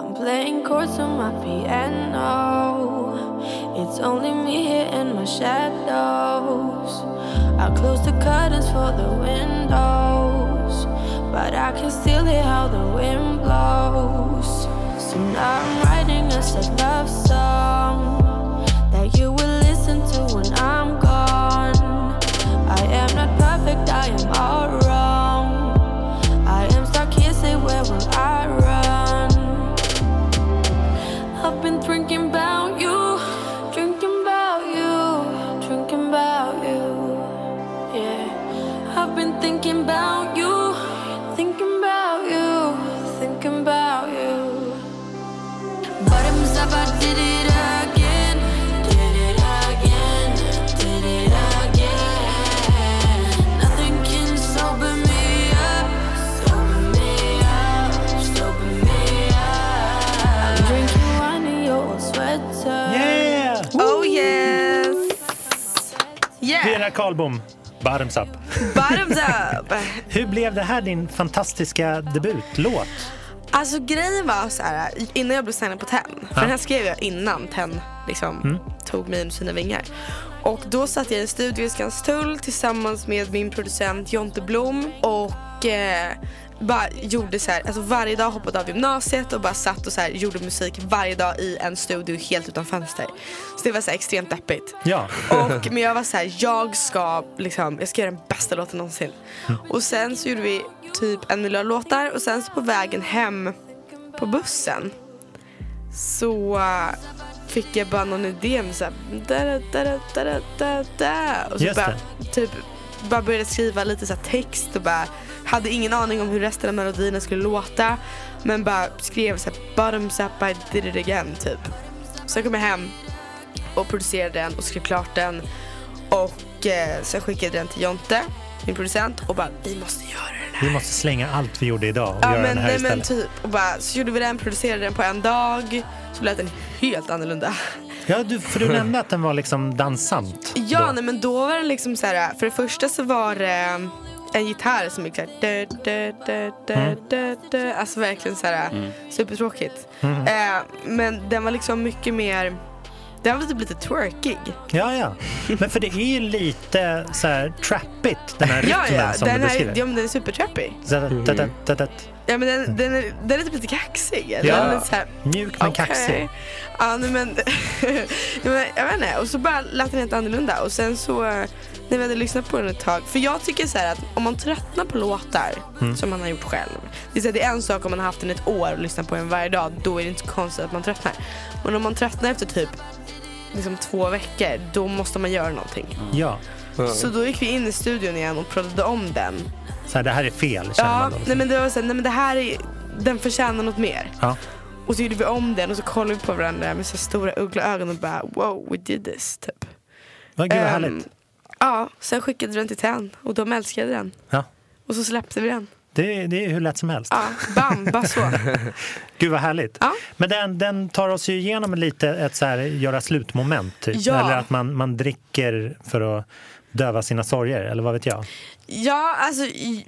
[SPEAKER 7] I'm playing chords on my piano. It's only me here in my shadows. I close the curtains for the windows, but I can still hear how the wind blows. So now I'm writing a sad love song that you will listen to when I'm gone. I am not perfect, I am all wrong. I am stuck here, say where will I run? I've been thinking about you, drinking about you, drinking about you. Yeah, I've been thinking about you, thinking about you, thinking about you. But it was up, I did it again, did it again, did it again. Nothing can sober me up, sober me up, sober me up. I'm drinking wine in your old sweater.
[SPEAKER 1] Yeah!
[SPEAKER 3] Oh yes Yeah,
[SPEAKER 1] Vera Karlbom, Bottoms Up.
[SPEAKER 3] bottoms up
[SPEAKER 1] Hur blev det här din fantastiska debutlåt?
[SPEAKER 3] Alltså grejen var så här, innan jag blev signad på TEN, för den här skrev jag innan TEN liksom tog mig under sina vingar. Och då satt jag i en studio i Skanstull tillsammans med min producent Jonte Blom och eh, bara gjorde så här, alltså varje dag hoppade av gymnasiet och bara satt och så här, gjorde musik varje dag i en studio helt utan fönster. Så det var så här extremt deppigt.
[SPEAKER 1] Ja,
[SPEAKER 3] Och, men jag var så här, jag ska, liksom, jag ska göra den bästa låten någonsin. Och sen så gjorde vi typ en miljard låtar och sen så på vägen hem på bussen så eh, fick jag bara någon idé med så här, da, da, da, da, da, da, da, da. Och så
[SPEAKER 1] Just
[SPEAKER 3] bara, typ, bara började skriva lite så här text och bara hade ingen aning om hur resten av melodierna skulle låta. Men bara skrev så här, bottoms up, I did it again typ. Sen kom jag hem och producerade den och skrev klart den. Och eh, sen skickade jag den till Jonte, min producent, och bara vi måste göra den här.
[SPEAKER 1] vi måste slänga allt vi gjorde idag och
[SPEAKER 3] Ja
[SPEAKER 1] göra
[SPEAKER 3] men,
[SPEAKER 1] den här
[SPEAKER 3] nej, men
[SPEAKER 1] istället.
[SPEAKER 3] typ. Och bara, så gjorde vi den, producerade den på en dag. Så lät den helt annorlunda.
[SPEAKER 1] Ja, du, för du nämnde att den var liksom dansant.
[SPEAKER 3] Ja
[SPEAKER 1] då.
[SPEAKER 3] nej men då var den liksom så här. för det första så var det eh, en gitarr som gick såhär dö, dö, dö, dö,
[SPEAKER 1] Mm.
[SPEAKER 3] dö, dö. Alltså
[SPEAKER 1] Mm.
[SPEAKER 3] verkligen såhär supertråkigt. Eh, men den var liksom mycket mer Den var typ lite twerkig.
[SPEAKER 1] Ja, ja. Men för det är ju lite så här trappigt, den här rytmen
[SPEAKER 3] Ja, ja,
[SPEAKER 1] som
[SPEAKER 3] den
[SPEAKER 1] du
[SPEAKER 3] är,
[SPEAKER 1] beskriver.
[SPEAKER 3] ja, men den är supertrappig.
[SPEAKER 1] Zadat, zadat, zadat.
[SPEAKER 3] Ja, men den, den, är, den är typ lite kaxig. eller?
[SPEAKER 1] Ja.
[SPEAKER 3] Den är så här,
[SPEAKER 1] Mjuk men
[SPEAKER 3] Okej.
[SPEAKER 1] kaxig.
[SPEAKER 3] Ja, nej, men, nej, men jag vet inte. Och så bara lät den helt annorlunda. Och sen så, eh, när vi hade lyssnat på den ett tag. För jag tycker så här att om man tröttnar på låtar som man har gjort själv. Det är, så här, det är en sak om man har haft den ett år och lyssnat på den varje dag. Då är det inte så konstigt att man tröttnar. Men om man tröttnar efter typ liksom två veckor, då måste man göra någonting.
[SPEAKER 1] Ja,
[SPEAKER 3] Så då gick vi in i studion igen och pratade om den.
[SPEAKER 1] så här, det här är fel känner
[SPEAKER 3] Ja,
[SPEAKER 1] man då.
[SPEAKER 3] nej men det var så här, nej men det här är, den förtjänar något mer.
[SPEAKER 1] Ja.
[SPEAKER 3] Och så gjorde vi om den och så kollade vi på varandra med så stora ugglaögon och bara wow, we did this. Typ.
[SPEAKER 1] Vad gud vad
[SPEAKER 3] Ehm,
[SPEAKER 1] härligt.
[SPEAKER 3] Ja, sen skickade vi den till Ten och de älskade den.
[SPEAKER 1] Ja.
[SPEAKER 3] Och så släppte vi den.
[SPEAKER 1] Det, det är hur lätt som helst.
[SPEAKER 3] Ja, bam, bara så.
[SPEAKER 1] Gud vad härligt.
[SPEAKER 3] Ja.
[SPEAKER 1] Men den, den tar oss ju igenom lite ett så här göra slut-moment. Typ.
[SPEAKER 3] Ja.
[SPEAKER 1] Eller att man, man dricker för att döva sina sorger, eller vad vet jag.
[SPEAKER 3] Mm. Ja, alltså i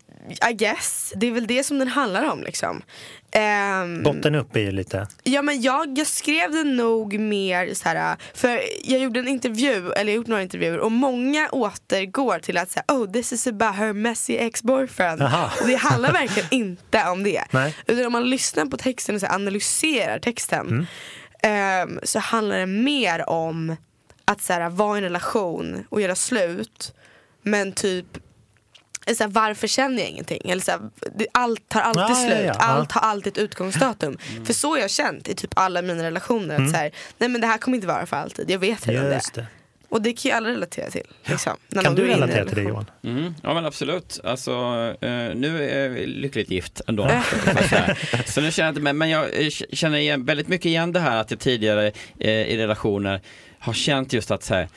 [SPEAKER 3] I guess. Det är väl det som den handlar om liksom. Ehm,
[SPEAKER 1] Botten upp är ju lite...
[SPEAKER 3] Ja men jag, jag skrev den nog mer så här för jag gjorde en intervju, eller jag har gjort några intervjuer och många återgår till att säga oh this is about her messy ex-boyfriend.
[SPEAKER 1] Jaha.
[SPEAKER 3] Och det handlar verkligen inte om det.
[SPEAKER 1] Nej.
[SPEAKER 3] Utan om man lyssnar på texten och så här, analyserar texten
[SPEAKER 1] Mm.
[SPEAKER 3] ehm, så handlar det mer om att så här, vara i en relation och göra slut men typ så här, varför känner jag ingenting? Eller så här, det, allt tar alltid
[SPEAKER 1] Ja, ja,
[SPEAKER 3] slut,
[SPEAKER 1] ja. Mm.
[SPEAKER 3] allt har alltid ett utgångsdatum. För så har jag känt i typ alla mina relationer. Att så här, nej men det här kommer inte vara för alltid, jag vet redan det.
[SPEAKER 1] Just det.
[SPEAKER 3] Och det kan ju alla relatera till. Liksom, när
[SPEAKER 1] Kan
[SPEAKER 3] man
[SPEAKER 1] du
[SPEAKER 3] går in i en
[SPEAKER 1] relatera till det
[SPEAKER 3] relation.
[SPEAKER 1] Johan?
[SPEAKER 2] Mm, ja men absolut. Alltså, eh, nu är jag lyckligt gift ändå. Så här. så nu känner jag inte, men, men jag eh, känner igen, väldigt mycket igen det här att jag tidigare eh, i relationer har känt just att så här,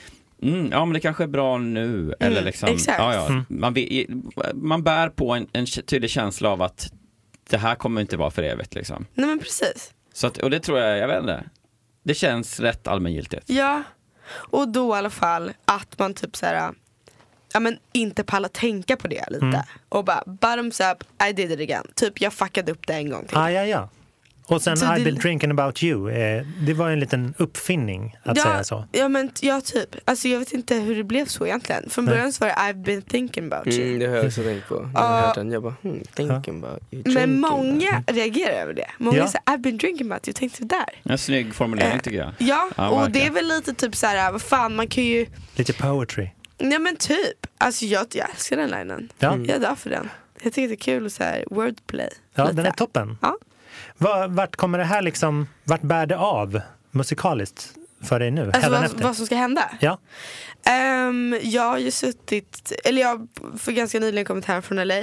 [SPEAKER 2] Mm, ja men det kanske är bra nu eller
[SPEAKER 3] Mm,
[SPEAKER 2] liksom,
[SPEAKER 3] exakt.
[SPEAKER 2] Ja, ja. Man, vi- man bär på en, en tydlig känsla av att det här kommer inte vara för evigt liksom.
[SPEAKER 3] Nej men precis.
[SPEAKER 2] Så att, och det tror jag, jag vet inte. Det känns rätt allmängiltigt.
[SPEAKER 3] Ja. Och då i alla fall att man typ så här, ja, men inte pallar tänka på det lite.
[SPEAKER 1] Mm.
[SPEAKER 3] Och bara bottoms up, I did it again. Typ jag fuckade upp det en gång till.
[SPEAKER 1] Ah, ja, ja. Och sen
[SPEAKER 3] Så
[SPEAKER 1] I've
[SPEAKER 3] det-
[SPEAKER 1] been drinking about you. Eh, det var ju en liten uppfinning att säga så.
[SPEAKER 3] Ja men t- ja typ, alltså jag vet inte hur det blev så egentligen. Från början så var det I've been thinking about you.
[SPEAKER 4] Mm, det har jag också tänkt på. Jag har
[SPEAKER 1] Ah.
[SPEAKER 4] hört den. Jag bara, hmm, thinking about you.
[SPEAKER 3] Men
[SPEAKER 4] drinking about
[SPEAKER 3] många reagerar över det. Många
[SPEAKER 1] Ja.
[SPEAKER 3] säger I've been drinking about you, tänkte där.
[SPEAKER 2] En snygg formulering
[SPEAKER 3] Eh,
[SPEAKER 2] tycker jag.
[SPEAKER 3] Ja,
[SPEAKER 2] Ja,
[SPEAKER 3] och
[SPEAKER 2] verkligen.
[SPEAKER 3] det är väl lite typ så här, vad fan man kan ju,
[SPEAKER 1] Lite poetry.
[SPEAKER 3] nej men typ. Alltså jag, jag älskar den linen.
[SPEAKER 1] Ja.
[SPEAKER 3] Jag dör för den. Jag tycker det är kul och så här wordplay.
[SPEAKER 1] Mm. Ja,
[SPEAKER 3] lite.
[SPEAKER 1] den är toppen.
[SPEAKER 3] Ja.
[SPEAKER 1] Va- Vart kommer det här liksom, vart bär det av musikaliskt för dig nu?
[SPEAKER 3] Alltså vad,
[SPEAKER 1] hädanefter?
[SPEAKER 3] vad som ska hända.
[SPEAKER 1] Ja,
[SPEAKER 3] Ehm, jag har ju suttit, eller jag har för ganska nyligen kommit hem från LA.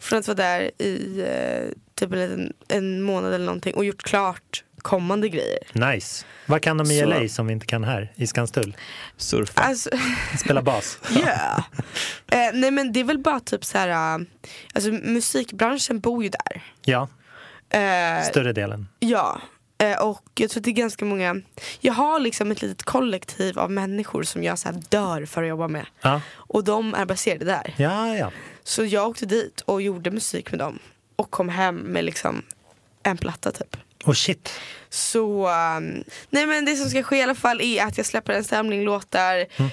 [SPEAKER 3] Från att vara där i eh, typ en, liten, en månad eller någonting och gjort klart kommande grejer.
[SPEAKER 1] nice. Vad kan de i
[SPEAKER 3] Så-
[SPEAKER 1] LA som vi inte kan här i Skanstull?
[SPEAKER 2] Surfa.
[SPEAKER 3] Alltså,
[SPEAKER 1] Spela bas.
[SPEAKER 3] yeah. Eh, nej men det är väl bara typ så här, eh, alltså musikbranschen bor ju där.
[SPEAKER 1] Ja,
[SPEAKER 3] Eh,
[SPEAKER 1] större delen.
[SPEAKER 3] Ja, eh, och jag tror att det är ganska många Jag har liksom ett litet kollektiv av människor som jag så här dör för att jobba med
[SPEAKER 1] Ja,
[SPEAKER 3] Och de är baserade där
[SPEAKER 1] ja, ja.
[SPEAKER 3] Så jag åkte dit och gjorde musik med dem Och kom hem med liksom en platta typ
[SPEAKER 1] Och shit,
[SPEAKER 3] så, um, nej men det som ska ske i alla fall är att jag släpper en samling låtar
[SPEAKER 2] Mm.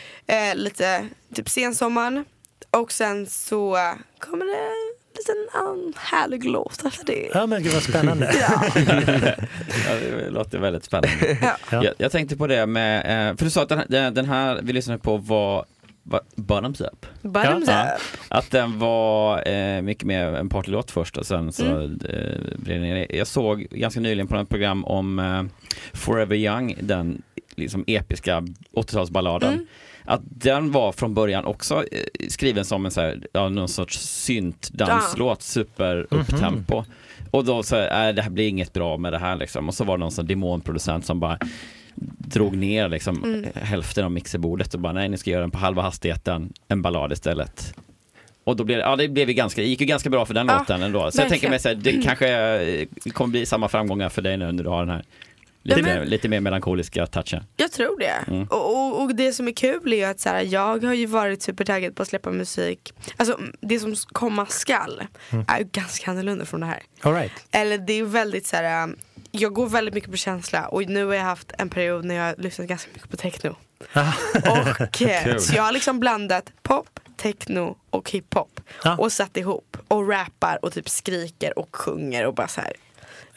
[SPEAKER 3] eh, lite typ sensommaren. Och sen så eh, kommer det en liten um, härlig låt efter det.
[SPEAKER 1] ja men gud vad spännande.
[SPEAKER 2] Ja, det låter väldigt spännande.
[SPEAKER 3] Ja.
[SPEAKER 2] jag, jag tänkte på det med, eh, för du sa att den här, den här vi lyssnade på var, var Bottoms Up.
[SPEAKER 3] Bottoms
[SPEAKER 2] Ja.
[SPEAKER 3] up.
[SPEAKER 2] Att den var eh, mycket mer en partylåt först och sen så eh, blev den, Jag såg ganska nyligen på ett program om eh, Forever Young, den liksom episka 80-talsballaden. Att den var från början också eh, skriven som en så här, ja, någon sorts syntdanslåt, super upptempo. Och då så här, äh, det här blir inget bra med det här liksom. Och så var det någon sån demonproducent som bara drog ner liksom
[SPEAKER 3] Mm.
[SPEAKER 2] hälften av mixerbordet och bara nej ni ska göra den på halva hastigheten, en ballad istället. Och då blev det, ja det blev ju ganska, det gick ju ganska bra för den
[SPEAKER 3] Ja,
[SPEAKER 2] låten ändå. Så
[SPEAKER 3] verkligen. Mm.
[SPEAKER 2] jag tänker mig så här, det kanske eh, kommer bli samma framgångar för dig nu när du har den här lite,
[SPEAKER 3] men-
[SPEAKER 2] mer, lite mer melankoliska touchen.
[SPEAKER 3] Jag tror det.
[SPEAKER 2] Mm.
[SPEAKER 3] Och, och, och det som är kul är ju att så här, jag har ju varit supertaggad på att släppa musik. Alltså det som
[SPEAKER 2] Mm.
[SPEAKER 3] komma skall är ju ganska annorlunda från det här.
[SPEAKER 1] All right.
[SPEAKER 3] Eller det är väldigt så här. um, jag går väldigt mycket på känsla och nu har jag haft en period när jag har lyssnat ganska mycket på techno. och, eh,
[SPEAKER 2] Kul.
[SPEAKER 3] så jag har liksom blandat pop, techno och hiphop
[SPEAKER 1] Ja.
[SPEAKER 3] och satt ihop och rappar och typ skriker och sjunger och bara så här.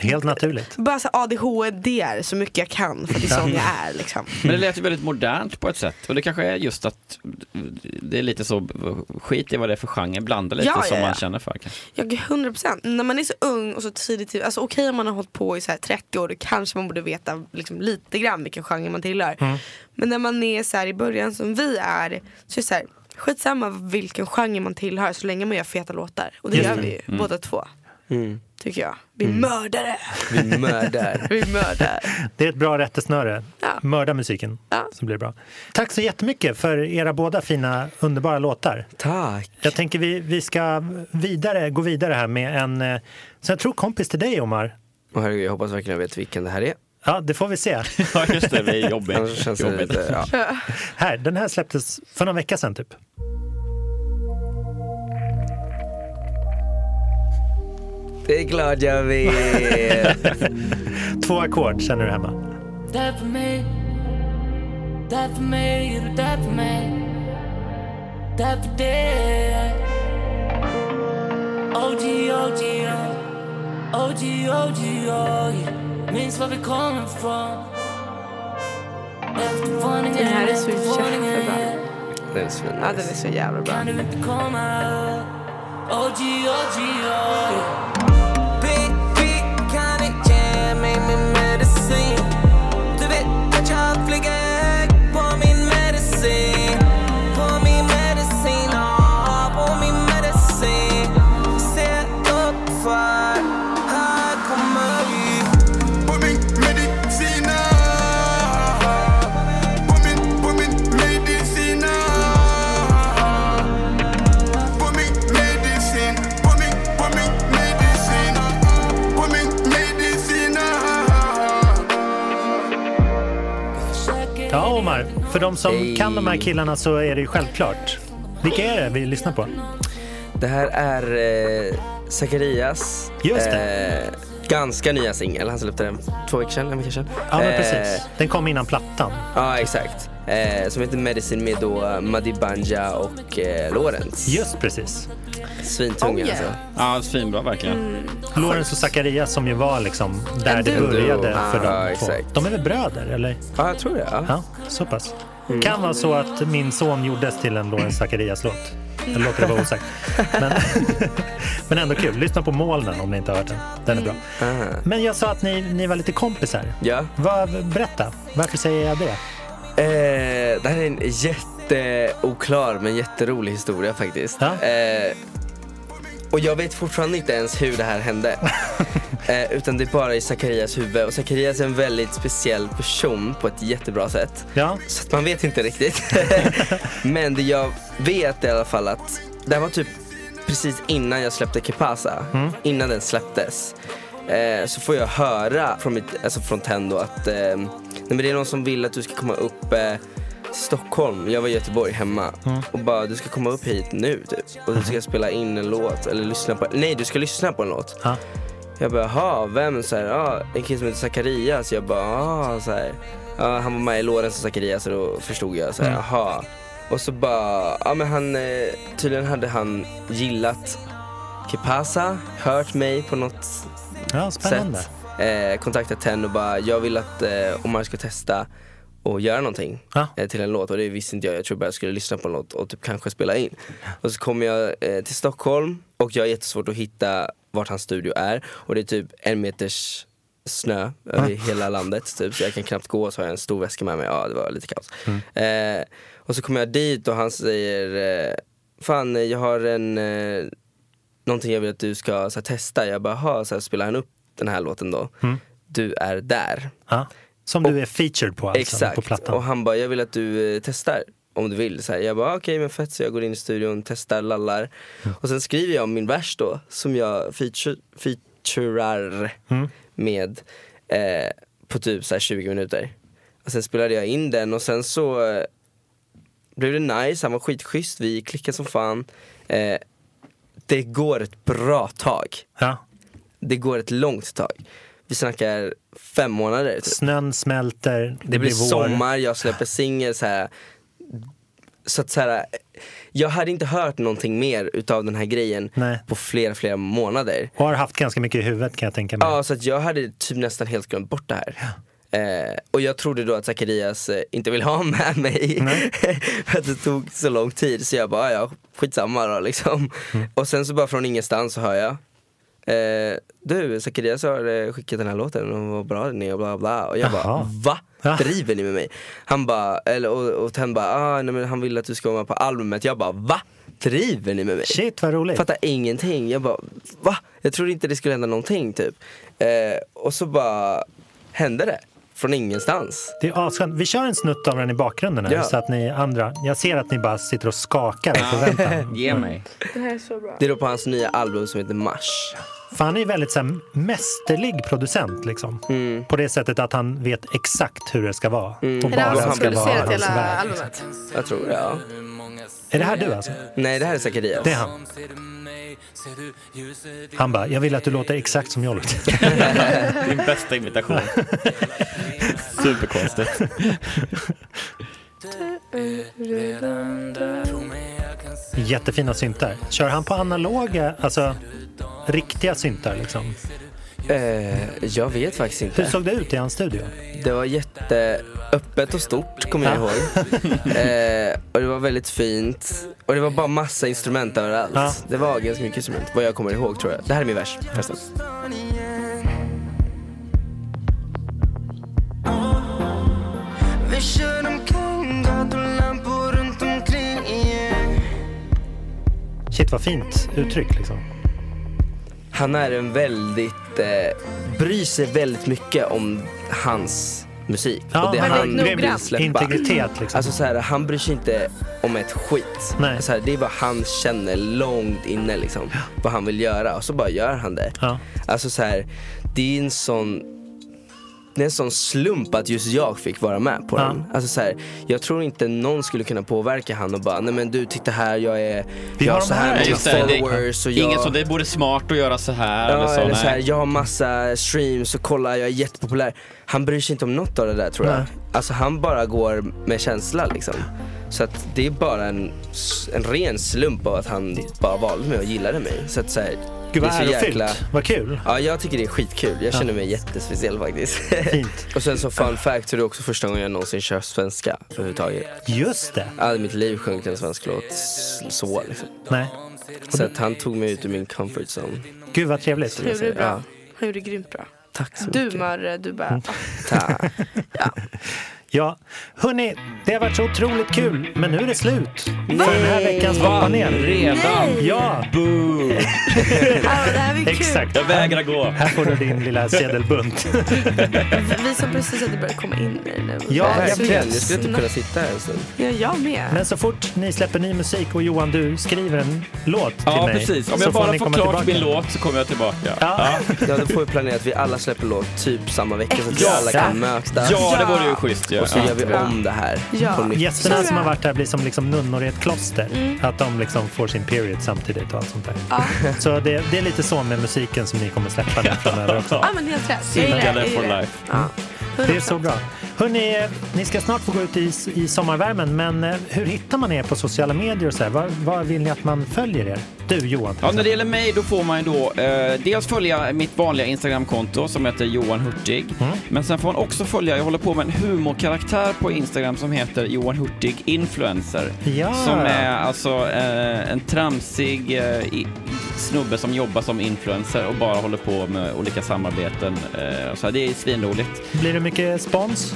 [SPEAKER 1] Helt naturligt.
[SPEAKER 3] Bara så här ADHD är så mycket jag kan för det är sån jag är liksom.
[SPEAKER 2] Men det lät ju väldigt modernt på ett sätt. Och det kanske är just att det är lite så, skit i vad det är för genre, blanda lite
[SPEAKER 3] Ja,
[SPEAKER 2] som
[SPEAKER 3] ja, ja.
[SPEAKER 2] man känner för. kanske.
[SPEAKER 3] Jag 100% när man är så ung och så tidigt, i- alltså okej om man har hållit på i så här 30 år då kanske man borde veta liksom lite grann vilken genre man tillhör.
[SPEAKER 1] Mm.
[SPEAKER 3] Men när man är så här i början som vi är så är det så här, skitsamma vilken genre man tillhör så länge man gör feta låtar. Och det
[SPEAKER 1] Just
[SPEAKER 3] gör
[SPEAKER 1] det. Mm.
[SPEAKER 3] vi ju båda två. Tycker jag. Vi mördare!
[SPEAKER 4] Mm. Vi mördar.
[SPEAKER 3] Vi mördar.
[SPEAKER 1] Det är ett bra rättesnöre.
[SPEAKER 3] Ja.
[SPEAKER 1] Mörda musiken,
[SPEAKER 3] Ja.
[SPEAKER 1] så blir det bra. Tack så jättemycket för era båda fina, underbara låtar.
[SPEAKER 4] Tack.
[SPEAKER 1] Jag tänker vi, vi ska vidare, gå vidare här med en eh, som jag tror kompis till dig, Omar.
[SPEAKER 4] Och herregud, jag hoppas verkligen jag vet vilken det här är.
[SPEAKER 1] Ja, det får vi se.
[SPEAKER 2] Ja just det, det är jobbigt.
[SPEAKER 4] Annars känns det
[SPEAKER 2] jobbigt.
[SPEAKER 4] lite, ja.
[SPEAKER 1] Här, den här släpptes för någon vecka sedan, typ.
[SPEAKER 4] Det är glad jag vet.
[SPEAKER 1] Två ackord känner du hemma.
[SPEAKER 7] That for me, that for me, you do that for me, that for dead. OG, OG, yeah. OG, OG, oh, yeah. Means where we coming from. Efter våningen,
[SPEAKER 3] här är så
[SPEAKER 7] efter
[SPEAKER 3] jävla
[SPEAKER 7] våningen,
[SPEAKER 3] bra.
[SPEAKER 7] yeah.
[SPEAKER 4] Den är svin-
[SPEAKER 3] Ja den är så jävla bra.
[SPEAKER 7] Kan du inte komma upp? OG, OG, oh, yeah.
[SPEAKER 5] Big, big, kan inte ge mig min medicin Du vet att jag flyger högt på min medicin På min medicin, ja, på min medicin Se upp för här kommer vi På min medicin, på min, på min medicin På min medicin, på min, på min medicin På min medicin
[SPEAKER 1] Ja, Omar, för de som kan de här killarna så är det ju självklart. Vilka är det vi lyssnar på?
[SPEAKER 4] Det här är eh, Zacharias
[SPEAKER 1] Just
[SPEAKER 4] eh, ganska nya singel. Han släppte den två veckor sedan, en vecka sedan.
[SPEAKER 1] Ja, men
[SPEAKER 4] Eh,
[SPEAKER 1] precis. Den kom innan plattan.
[SPEAKER 4] ja, exakt. Eh, som heter Medicine med då Madi Banja och eh, Lorentz.
[SPEAKER 1] Just precis.
[SPEAKER 4] Svintunga
[SPEAKER 3] Oh, yeah.
[SPEAKER 4] alltså.
[SPEAKER 2] Ja, svinbra verkligen.
[SPEAKER 3] Mm.
[SPEAKER 1] Lorentz och Zacharias som ju var liksom där
[SPEAKER 3] En
[SPEAKER 1] det
[SPEAKER 3] duo.
[SPEAKER 1] började för
[SPEAKER 4] Ah,
[SPEAKER 1] de två.
[SPEAKER 4] exakt.
[SPEAKER 1] De är väl bröder, eller?
[SPEAKER 4] Ja, jag tror det. Ja.
[SPEAKER 1] Ja, så pass.
[SPEAKER 4] Mm.
[SPEAKER 1] Kan vara så att min son gjordes till en Lorentz Zacharias-låt. Jag låter det vara osagt. Men, men ändå kul. Lyssna på Molnen om ni inte har hört den. Den är bra.
[SPEAKER 4] Ah.
[SPEAKER 1] Men jag sa att ni, ni var lite kompisar.
[SPEAKER 4] Ja.
[SPEAKER 1] Vad, berätta, varför säger jag det?
[SPEAKER 4] Eh, det här är en jätteoklar men jätterolig historia faktiskt.
[SPEAKER 1] Ja.
[SPEAKER 4] Eh, och jag vet fortfarande inte ens hur det här hände. eh, utan det är bara i Zacharias huvud. Och Zacharias är en väldigt speciell person på ett jättebra sätt.
[SPEAKER 1] Ja,
[SPEAKER 4] Så att man vet inte riktigt. Men det jag vet i alla fall att det här var typ precis innan jag släppte Kepasa. Innan den släpptes. Eh, så får jag höra från, mitt, alltså från Tendo att eh, nej, men det är någon som vill att du ska komma upp eh, till Stockholm, jag var i Göteborg hemma och bara du ska komma upp hit nu typ. Och du ska spela in en låt eller lyssna på, nej du ska lyssna på en låt.
[SPEAKER 1] Ja.
[SPEAKER 4] Jag bara, jaha, vem? Så här, ah, en kille som heter Zacharias. Jag bara, ah, så här. Ja, han var med i Lorentz och Zacharias och då förstod jag, så här, jaha. Och så bara, ja men han, eh, tydligen hade han gillat Kepasa, hört mig på något
[SPEAKER 1] ja spännande.
[SPEAKER 4] sätt. Eh, kontaktat henne och bara, jag vill att eh, Omar ska testa och göra någonting
[SPEAKER 1] Ja.
[SPEAKER 4] eh, till en låt. Och det visste inte jag, jag trodde bara jag skulle lyssna på en låt och typ kanske spela in. Och så kommer jag eh, till Stockholm och jag har jättesvårt att hitta vart hans studio är. Och det är typ en meters snö över hela landet typ. Så jag kan knappt gå så har jag en stor väska med mig. Ja det var lite kaos. Eh, och så kommer jag dit och han säger eh, Fan eh, jag har en eh, någonting jag vill att du ska så här, testa. Jag bara, "Ha, så här, spelar han upp den här låten då? Du är där.
[SPEAKER 1] Ja. Som du är featured på alltså, på
[SPEAKER 4] Exakt.
[SPEAKER 1] plattan.
[SPEAKER 4] Och han bara, jag vill att du eh, testar. Om du vill. Så här, jag bara, "Ah, okej men fett. Så jag går in i studion, testar, lallar. Och sen skriver jag min vers då, som jag feature, featurar
[SPEAKER 1] Mm.
[SPEAKER 4] med eh, på typ så här 20 minuter. Och sen spelade jag in den och sen så eh, blev det nice, han var skitschysst, vi klickade som fan. Eh, det går ett bra tag
[SPEAKER 1] Ja.
[SPEAKER 4] det går ett långt tag. vi snackar fem månader. Typ.
[SPEAKER 1] Snön smälter, det,
[SPEAKER 4] Det blir
[SPEAKER 1] vår.
[SPEAKER 4] sommar, jag släpper singel så här. Så att så här, jag hade inte hört någonting mer utav den här grejen
[SPEAKER 1] Nej.
[SPEAKER 4] på flera, flera månader.
[SPEAKER 1] Och har haft ganska mycket i huvudet kan jag tänka mig.
[SPEAKER 4] Ja, så att jag hade typ nästan helt glömt bort det här. Eh, och jag trodde då att Zacharias eh, inte ville ha med mig för att det tog så lång tid. Så jag bara, ja skitsamma då liksom.
[SPEAKER 1] Mm.
[SPEAKER 4] Och sen så bara från ingenstans så hör jag. Eh, du, Zacharias har eh, skickat den här låten och vad bra den är och bla bla. Och jag bara,
[SPEAKER 1] Jaha.
[SPEAKER 4] va?
[SPEAKER 1] Ja.
[SPEAKER 4] Driver ni med mig? Han bara, eller och, och han bara, ah, nej, men han vill att du ska vara med på albumet. Jag bara, va? Driver ni med mig?
[SPEAKER 1] Shit vad roligt.
[SPEAKER 4] Fattar ingenting. Jag bara, va? Jag trodde inte det skulle hända någonting typ. Eh, och så bara hände det. Från ingenstans.
[SPEAKER 1] Det är asskönt. Vi kör en snutt av den i bakgrunden här
[SPEAKER 4] Ja.
[SPEAKER 1] så att ni andra, jag ser att ni bara sitter och skakar av förväntan.
[SPEAKER 2] Ge mig.
[SPEAKER 3] Det här är så bra.
[SPEAKER 4] Det är då på hans nya album som heter Mars.
[SPEAKER 1] För han är ju väldigt så här, mästerlig producent liksom.
[SPEAKER 4] Mm.
[SPEAKER 1] På det sättet att han vet exakt hur det ska vara. Och
[SPEAKER 3] Är det
[SPEAKER 1] bara
[SPEAKER 3] han som
[SPEAKER 1] ska vara
[SPEAKER 3] producerat
[SPEAKER 1] hans
[SPEAKER 3] hela
[SPEAKER 1] väg.
[SPEAKER 3] albumet?
[SPEAKER 4] Jag tror det, ja.
[SPEAKER 1] Är det här du alltså?
[SPEAKER 4] Nej, det här är Zacharias.
[SPEAKER 1] Det är han. Han bara, jag vill att du låter exakt som jag låter.
[SPEAKER 2] Din bästa imitation. Superkonstigt.
[SPEAKER 1] Jättefina syntar. Kör han på analoga, alltså riktiga syntar liksom?
[SPEAKER 4] Eh, jag vet faktiskt
[SPEAKER 1] Hur
[SPEAKER 4] inte.
[SPEAKER 1] såg det ut i hans studio?
[SPEAKER 4] Det var jätteöppet och stort, kommer jag
[SPEAKER 1] Ja.
[SPEAKER 4] ihåg. Eh, och det var väldigt fint. Och det var bara massa instrument överallt.
[SPEAKER 1] Ja.
[SPEAKER 4] Det var ganska mycket instrument, vad jag kommer ihåg tror jag. Det här är min vers förresten.
[SPEAKER 5] Vi kör omkring gator, lampor runt omkring igen
[SPEAKER 1] Shit vad fint uttryck liksom.
[SPEAKER 4] Han är en väldigt, eh, bryr sig väldigt mycket om hans musik.
[SPEAKER 1] Ja,
[SPEAKER 4] och det
[SPEAKER 1] men
[SPEAKER 4] han
[SPEAKER 1] det är
[SPEAKER 4] vill
[SPEAKER 3] noggrant.
[SPEAKER 4] släppa.
[SPEAKER 1] Integritet liksom.
[SPEAKER 4] Alltså så här, han bryr sig inte om ett skit.
[SPEAKER 1] Nej.
[SPEAKER 4] Så här, det är vad han känner långt inne liksom. Vad han vill göra och så bara gör han det.
[SPEAKER 1] Ja.
[SPEAKER 4] Alltså så här, det är en sån det är en sån slump att just jag fick vara med på
[SPEAKER 1] Ja.
[SPEAKER 4] den. Alltså så här, jag tror inte någon skulle kunna påverka han och bara, nej men du titta här, jag är,
[SPEAKER 1] Vi
[SPEAKER 4] jag
[SPEAKER 1] har
[SPEAKER 4] har
[SPEAKER 1] de
[SPEAKER 4] så
[SPEAKER 1] här."
[SPEAKER 4] här
[SPEAKER 1] Ja,
[SPEAKER 4] många
[SPEAKER 1] just det,
[SPEAKER 2] det-
[SPEAKER 4] followers och jag...
[SPEAKER 2] Ingen som det vore smart att göra så här eller
[SPEAKER 4] Ja,
[SPEAKER 2] så.
[SPEAKER 4] eller så här,
[SPEAKER 2] nej.
[SPEAKER 4] jag har massa streams och kolla jag är jättepopulär. Han bryr sig inte om något av det där tror jag.
[SPEAKER 1] Nej.
[SPEAKER 4] Alltså han bara går med känsla liksom. Så att det är bara en, en ren slump av att han bara valde mig och gillade mig. Så att så här,
[SPEAKER 1] Gud vad
[SPEAKER 4] det är så
[SPEAKER 1] ärofyllt. Vad kul.
[SPEAKER 4] Ja, jag tycker det är skitkul. Jag känner mig jättespeciell faktiskt.
[SPEAKER 1] Fint.
[SPEAKER 4] och sen som fun fact så är det också första gången jag någonsin kör svenska överhuvudtaget.
[SPEAKER 1] Just det.
[SPEAKER 4] Jag hade i mitt liv sjungit en svensk låt s- så liksom.
[SPEAKER 1] Nej.
[SPEAKER 4] Så att han tog mig ut ur min comfort zone.
[SPEAKER 1] Gud vad trevligt.
[SPEAKER 3] Han gjorde det
[SPEAKER 4] Ja.
[SPEAKER 3] bra. Han gjorde det grymt bra.
[SPEAKER 4] Tack så mycket.
[SPEAKER 3] Du mördare, du bara... ah.
[SPEAKER 4] Tack.
[SPEAKER 1] Ja, hörni, det har varit så otroligt kul, men nu är det slut för den här veckans poppanel.
[SPEAKER 2] Redan.
[SPEAKER 1] Ja,
[SPEAKER 2] Boo.
[SPEAKER 3] Ja, det här var ju kul.
[SPEAKER 1] exakt.
[SPEAKER 2] Jag vägrar gå.
[SPEAKER 1] Här får du din lilla sedelbunt.
[SPEAKER 3] Vi som precis hade börjat komma in i det nu.
[SPEAKER 1] Ja,
[SPEAKER 3] Bara så
[SPEAKER 4] Verkligen,
[SPEAKER 3] vi-
[SPEAKER 4] jag skulle typ kunna sitta här en stund.
[SPEAKER 3] Ja, jag med.
[SPEAKER 1] Men så fort ni släpper ny musik och Johan, du skriver en låt till
[SPEAKER 2] Ja,
[SPEAKER 1] mig.
[SPEAKER 2] precis. Om
[SPEAKER 1] så
[SPEAKER 2] jag
[SPEAKER 1] får
[SPEAKER 2] bara
[SPEAKER 1] ni
[SPEAKER 2] får
[SPEAKER 1] komma
[SPEAKER 2] klart min
[SPEAKER 1] tillbaka.
[SPEAKER 2] låt så kommer jag tillbaka.
[SPEAKER 1] Ja.
[SPEAKER 4] Ja, då får vi planera att vi alla släpper låt typ samma vecka så att vi
[SPEAKER 2] Ja.
[SPEAKER 4] alla kan mötas.
[SPEAKER 2] Ja, det vore ju schysst ju.
[SPEAKER 4] Och så
[SPEAKER 2] Ja.
[SPEAKER 4] gör vi om det här
[SPEAKER 3] Ja.
[SPEAKER 4] på nytt.
[SPEAKER 1] Gästerna som har varit här blir som liksom nunnor i ett kloster.
[SPEAKER 2] Mm.
[SPEAKER 1] Att de liksom får sin period samtidigt och allt sånt där. Så det, det är lite så med musiken som ni kommer släppa nu framöver också.
[SPEAKER 3] Ja, men helt rätt. Jag gillar det.
[SPEAKER 2] Singade
[SPEAKER 3] Jag
[SPEAKER 2] for
[SPEAKER 3] gillar det.
[SPEAKER 2] life.
[SPEAKER 3] Ja.
[SPEAKER 1] Det är så bra. Hörni, eh, ni ska snart få gå ut i, i sommarvärmen, men eh, hur hittar man er på sociala medier och så här? Var, var vill ni att man följer er? Du Johan till
[SPEAKER 2] Ja, när det
[SPEAKER 1] exempel.
[SPEAKER 2] gäller mig då får man ju då eh, dels följa mitt vanliga Instagramkonto som heter Johan Hurtig. Men sen får man också följa, jag håller på med en humorkaraktär på Instagram som heter Johan Hurtig Influencer.
[SPEAKER 1] Ja.
[SPEAKER 2] Som är alltså eh, en tramsig eh, i, snubbe som jobbar som influencer och bara håller på med olika samarbeten. Eh, så här, det är svinroligt.
[SPEAKER 1] Blir det mycket spons?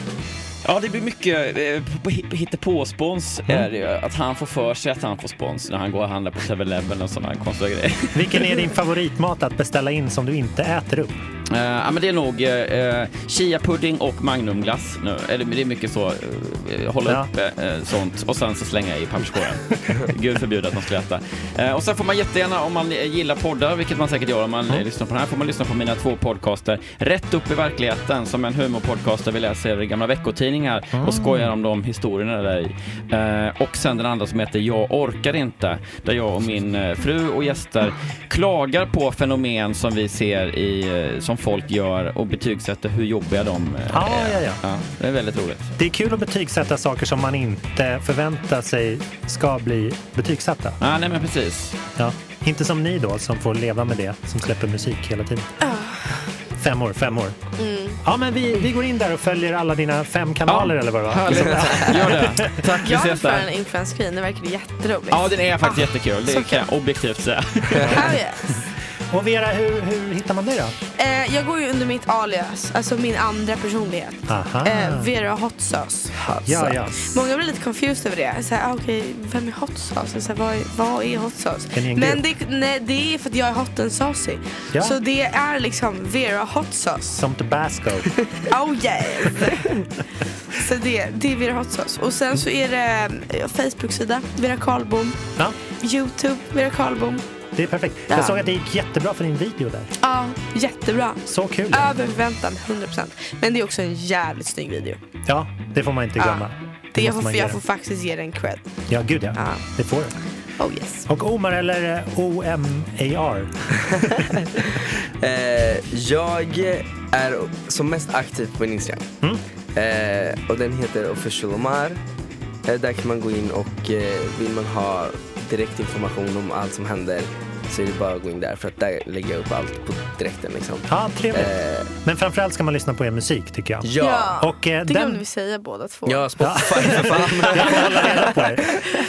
[SPEAKER 2] Ja, det blir mycket eh, på- på- hittepåspons. Är det ju. Att han får för sig att han får spons när han går och handlar på 7-Eleven och sådana konstiga grejer.
[SPEAKER 1] Vilken är din favoritmat att beställa in som du inte äter upp?
[SPEAKER 2] Eh, ja, men det är nog uh, chia-pudding och magnumglass nu. Eller det är mycket så, eh, hålla
[SPEAKER 1] Ja.
[SPEAKER 2] upp eh, sånt och sen så slänga i papperskorgen. Gud förbjude att man skulle äta. Eh, och sen får man jättegärna, om man eh, gillar poddar, vilket man säkert gör om man eh, lyssnar på den här, får man lyssna på mina två podcaster. Rätt upp i verkligheten, som en humorpodcast där vi läser gamla veckotidningar
[SPEAKER 1] Ah.
[SPEAKER 2] och skojar om de historierna där i. Eh, och sen den andra som heter Jag orkar inte, där jag och min eh, fru och gäster klagar på fenomen som vi ser i, eh, som folk gör och betygsätter hur jobbiga de eh,
[SPEAKER 1] Ja,
[SPEAKER 2] är.
[SPEAKER 1] Ah, ja, ja.
[SPEAKER 2] Det är väldigt roligt.
[SPEAKER 1] Det är kul att betygsätta saker som man inte förväntar sig ska bli betygsatta.
[SPEAKER 2] Ja, Ah, nej men precis.
[SPEAKER 1] Ja. Inte som ni då som får leva med det, som släpper musik hela tiden.
[SPEAKER 3] Ah.
[SPEAKER 1] Fem år, fem år.
[SPEAKER 3] Mm.
[SPEAKER 1] Ja, men vi, vi går in där och följer alla dina fem kanaler eller vad det var.
[SPEAKER 2] Härligt. Gör det. Tack, vi
[SPEAKER 3] Jag är
[SPEAKER 2] ses
[SPEAKER 3] för
[SPEAKER 2] där.
[SPEAKER 3] en influencer-screen, det verkar jätteroligt.
[SPEAKER 2] Ja, den är faktiskt jättekul.
[SPEAKER 3] så
[SPEAKER 2] Det kan jag objektivt säga.
[SPEAKER 3] Hell yes.
[SPEAKER 1] Och Vera, hur, hur hittar man dig då?
[SPEAKER 3] eh, jag går ju under mitt alias, alltså min andra personlighet.
[SPEAKER 1] Aha.
[SPEAKER 3] Eh, Vera Hot Sauce.
[SPEAKER 1] Ja, ja.
[SPEAKER 3] Många blir lite confused över det. Så här, ah, okej, vem är hot sauce? Så här, vad, är, vad är hot sauce?
[SPEAKER 1] Är ni en
[SPEAKER 3] Men det, nej, det är för att jag är hot and saucy.
[SPEAKER 1] Ja.
[SPEAKER 3] Så det är liksom Vera hot sauce.
[SPEAKER 1] Som Tabasco.
[SPEAKER 3] Oh yes! så det, det är Vera hot sauce. Och sen så är det eh, Facebook-sida, Vera Karlbom.
[SPEAKER 1] Ja,
[SPEAKER 3] Youtube, Vera Karlbom.
[SPEAKER 1] det är perfekt.
[SPEAKER 3] Ja.
[SPEAKER 1] Jag såg att det gick jättebra för din video där.
[SPEAKER 3] Ja, jättebra.
[SPEAKER 1] Så kul.
[SPEAKER 3] Över förväntan, 100%. Men det är också en jävligt snygg video.
[SPEAKER 1] Ja, det får man inte
[SPEAKER 3] Ja.
[SPEAKER 1] glömma.
[SPEAKER 3] Det jag,
[SPEAKER 1] måste
[SPEAKER 3] får,
[SPEAKER 1] man ge
[SPEAKER 3] jag
[SPEAKER 1] den.
[SPEAKER 3] får faktiskt ge den cred.
[SPEAKER 1] Ja, gud ja.
[SPEAKER 3] Ja.
[SPEAKER 1] Det får du.
[SPEAKER 3] Oh yes.
[SPEAKER 1] Och Omar eller eh, OMAR.
[SPEAKER 4] Eh, jag är som mest aktiv på min Instagram. Eh, och den heter official Omar. Eh, där kan man gå in och eh, vill man ha direkt information om allt som händer så är det bara att gå in där för att där lägger jag upp allt på direkten liksom.
[SPEAKER 1] Ja, trevligt.
[SPEAKER 4] Eh,
[SPEAKER 1] Men framförallt ska man lyssna på er musik tycker jag.
[SPEAKER 4] ja,
[SPEAKER 1] Och eh,
[SPEAKER 3] Det glömde
[SPEAKER 1] den...
[SPEAKER 3] vi säga båda två.
[SPEAKER 4] ja, Spotify för fan.
[SPEAKER 1] Jag får hålla reda på er.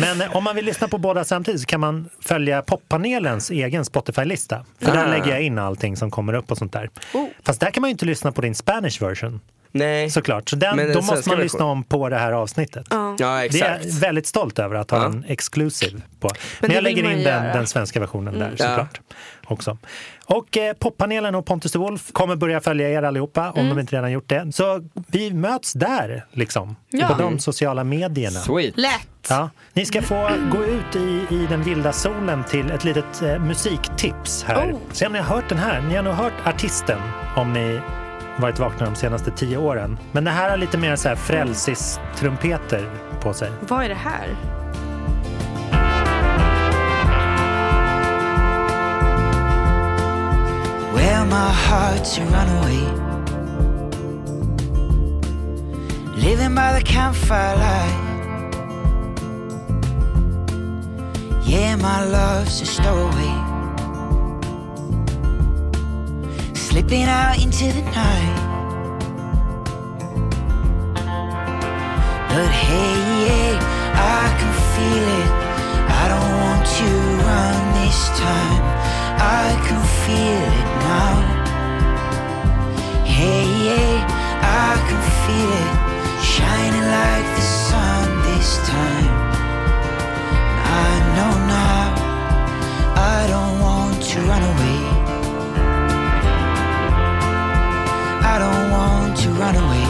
[SPEAKER 1] Men eh, om man vill lyssna på båda samtidigt så kan man följa poppanelens egen Spotify-lista. För där lägger jag in allting som kommer upp och sånt där.
[SPEAKER 3] Oh.
[SPEAKER 1] Fast där kan man ju inte lyssna på din Spanish version
[SPEAKER 4] Nej,
[SPEAKER 1] såklart. Så den,
[SPEAKER 4] Men den
[SPEAKER 1] då måste
[SPEAKER 4] svenska
[SPEAKER 1] man
[SPEAKER 4] version.
[SPEAKER 1] lyssna om på det här avsnittet.
[SPEAKER 4] ja
[SPEAKER 1] Det är
[SPEAKER 4] exakt.
[SPEAKER 1] jag väldigt stolt över att ha
[SPEAKER 4] Ja.
[SPEAKER 1] en exclusive på. Men,
[SPEAKER 3] det
[SPEAKER 1] jag
[SPEAKER 3] vill
[SPEAKER 1] lägger
[SPEAKER 3] man
[SPEAKER 1] in
[SPEAKER 3] ju
[SPEAKER 1] den,
[SPEAKER 3] göra.
[SPEAKER 1] den svenska versionen där
[SPEAKER 4] Ja.
[SPEAKER 1] såklart. Också. Och eh, poppanelen och Pontus de Wolf kommer börja följa er allihopa om de inte redan gjort det. Så vi möts där liksom.
[SPEAKER 3] Ja.
[SPEAKER 1] På de sociala medierna.
[SPEAKER 2] Sweet.
[SPEAKER 3] Lätt!
[SPEAKER 1] Ja, ni ska få gå ut i, i den vilda solen till ett litet eh, musiktips här.
[SPEAKER 3] Oh.
[SPEAKER 1] Se om ni har hört den här. Ni har nog hört artisten om ni varit vakna de senaste tio åren. Men det här har lite mer så här frälsistrumpetr på sig.
[SPEAKER 3] Vad är det här?
[SPEAKER 8] Wear my heart to run away. Living by the campfire light. Yeah, my love's a stowaway. Slipping out into the night. But hey, yeah, I can feel it. I don't want to run this time. I can feel it now. Hey, yeah, I can feel it. Shining like the sun this time. I know now. I don't want to run away. I don't want to run away.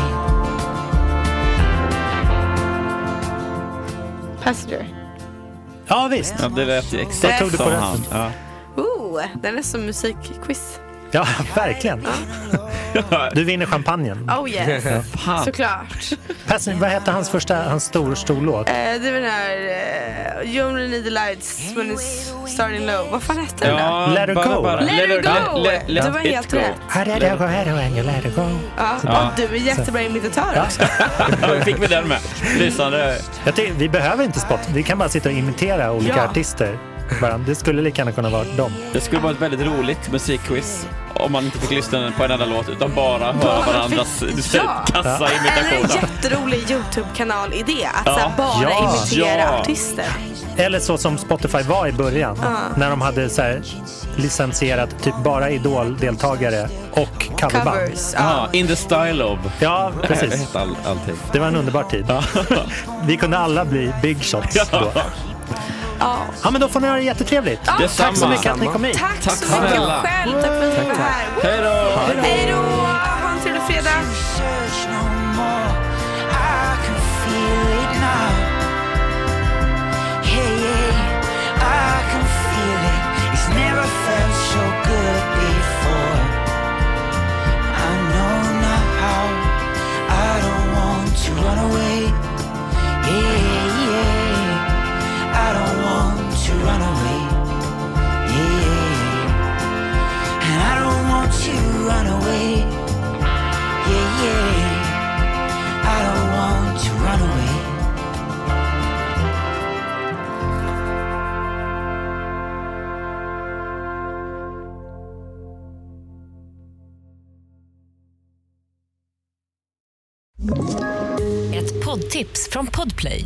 [SPEAKER 3] Passenger.
[SPEAKER 1] Ja, visst.
[SPEAKER 2] Ja, det lät ju
[SPEAKER 1] Vad
[SPEAKER 2] exakt
[SPEAKER 1] tog du på
[SPEAKER 2] som
[SPEAKER 1] rösten?
[SPEAKER 2] han. Ja.
[SPEAKER 3] Ooh, den är som musikquiz.
[SPEAKER 1] Ja, verkligen. Du vinner champagnen.
[SPEAKER 3] Oh yes,
[SPEAKER 2] Fan.
[SPEAKER 3] såklart.
[SPEAKER 1] Passenger, vad hette hans första, hans stor, stor låt?
[SPEAKER 3] Eh, det var den här eh, You only need the lights when it's starting low. Vad fan hette den då?
[SPEAKER 2] Ja,
[SPEAKER 1] Let her
[SPEAKER 2] bara-
[SPEAKER 1] go.
[SPEAKER 2] bara-
[SPEAKER 3] Let her go!
[SPEAKER 2] let- let
[SPEAKER 3] Det var
[SPEAKER 2] it
[SPEAKER 3] helt
[SPEAKER 2] go.
[SPEAKER 3] rätt. Ja, Och du är jättebra imitatör också.
[SPEAKER 2] Ja, vi fick vi den med. Lysande.
[SPEAKER 1] Jag tycker, vi behöver inte spot. Vi kan bara sitta och imitera olika
[SPEAKER 3] Ja.
[SPEAKER 1] artister. Bara, Det skulle lika gärna kunna vara dem.
[SPEAKER 2] Det skulle vara ett väldigt roligt musikquiz om man inte fick lyssna på en enda låt utan bara höra varandras
[SPEAKER 3] fick- ja.
[SPEAKER 2] kassa
[SPEAKER 3] Eller en
[SPEAKER 2] imitationer.
[SPEAKER 3] jätterolig YouTube-kanal-idé. Att
[SPEAKER 2] Ja.
[SPEAKER 3] så här, bara
[SPEAKER 1] Ja.
[SPEAKER 3] imitera
[SPEAKER 2] Ja.
[SPEAKER 3] artister.
[SPEAKER 1] Eller så som Spotify var i början. När de hade så här licensierat typ bara Idol-deltagare och coverband.
[SPEAKER 3] Covers.
[SPEAKER 2] Ja, in the style of.
[SPEAKER 1] Ja,
[SPEAKER 2] Det
[SPEAKER 1] precis.
[SPEAKER 2] hette all, allting.
[SPEAKER 1] Det var en underbar tid. Vi kunde alla bli big shots då.
[SPEAKER 3] Ja.
[SPEAKER 1] Ja, men då får ni ha det jättetrevligt.
[SPEAKER 2] Detsamma.
[SPEAKER 1] Tack så mycket att ni kom hit.
[SPEAKER 3] Tack,
[SPEAKER 2] Tack
[SPEAKER 3] så mycket
[SPEAKER 2] snälla.
[SPEAKER 3] själv. Tack för att ni var här.
[SPEAKER 2] Hej då!
[SPEAKER 3] Hej då! Ha en trevlig fredag.
[SPEAKER 8] search no more. I can feel it now. Hey, yeah, I can feel it. It's never felt so good before. I know now how. I don't want to run away. Yeah, yeah. I don't want to run away. Yeah, and I don't want to run away.
[SPEAKER 6] Ett poddtips från Podplay.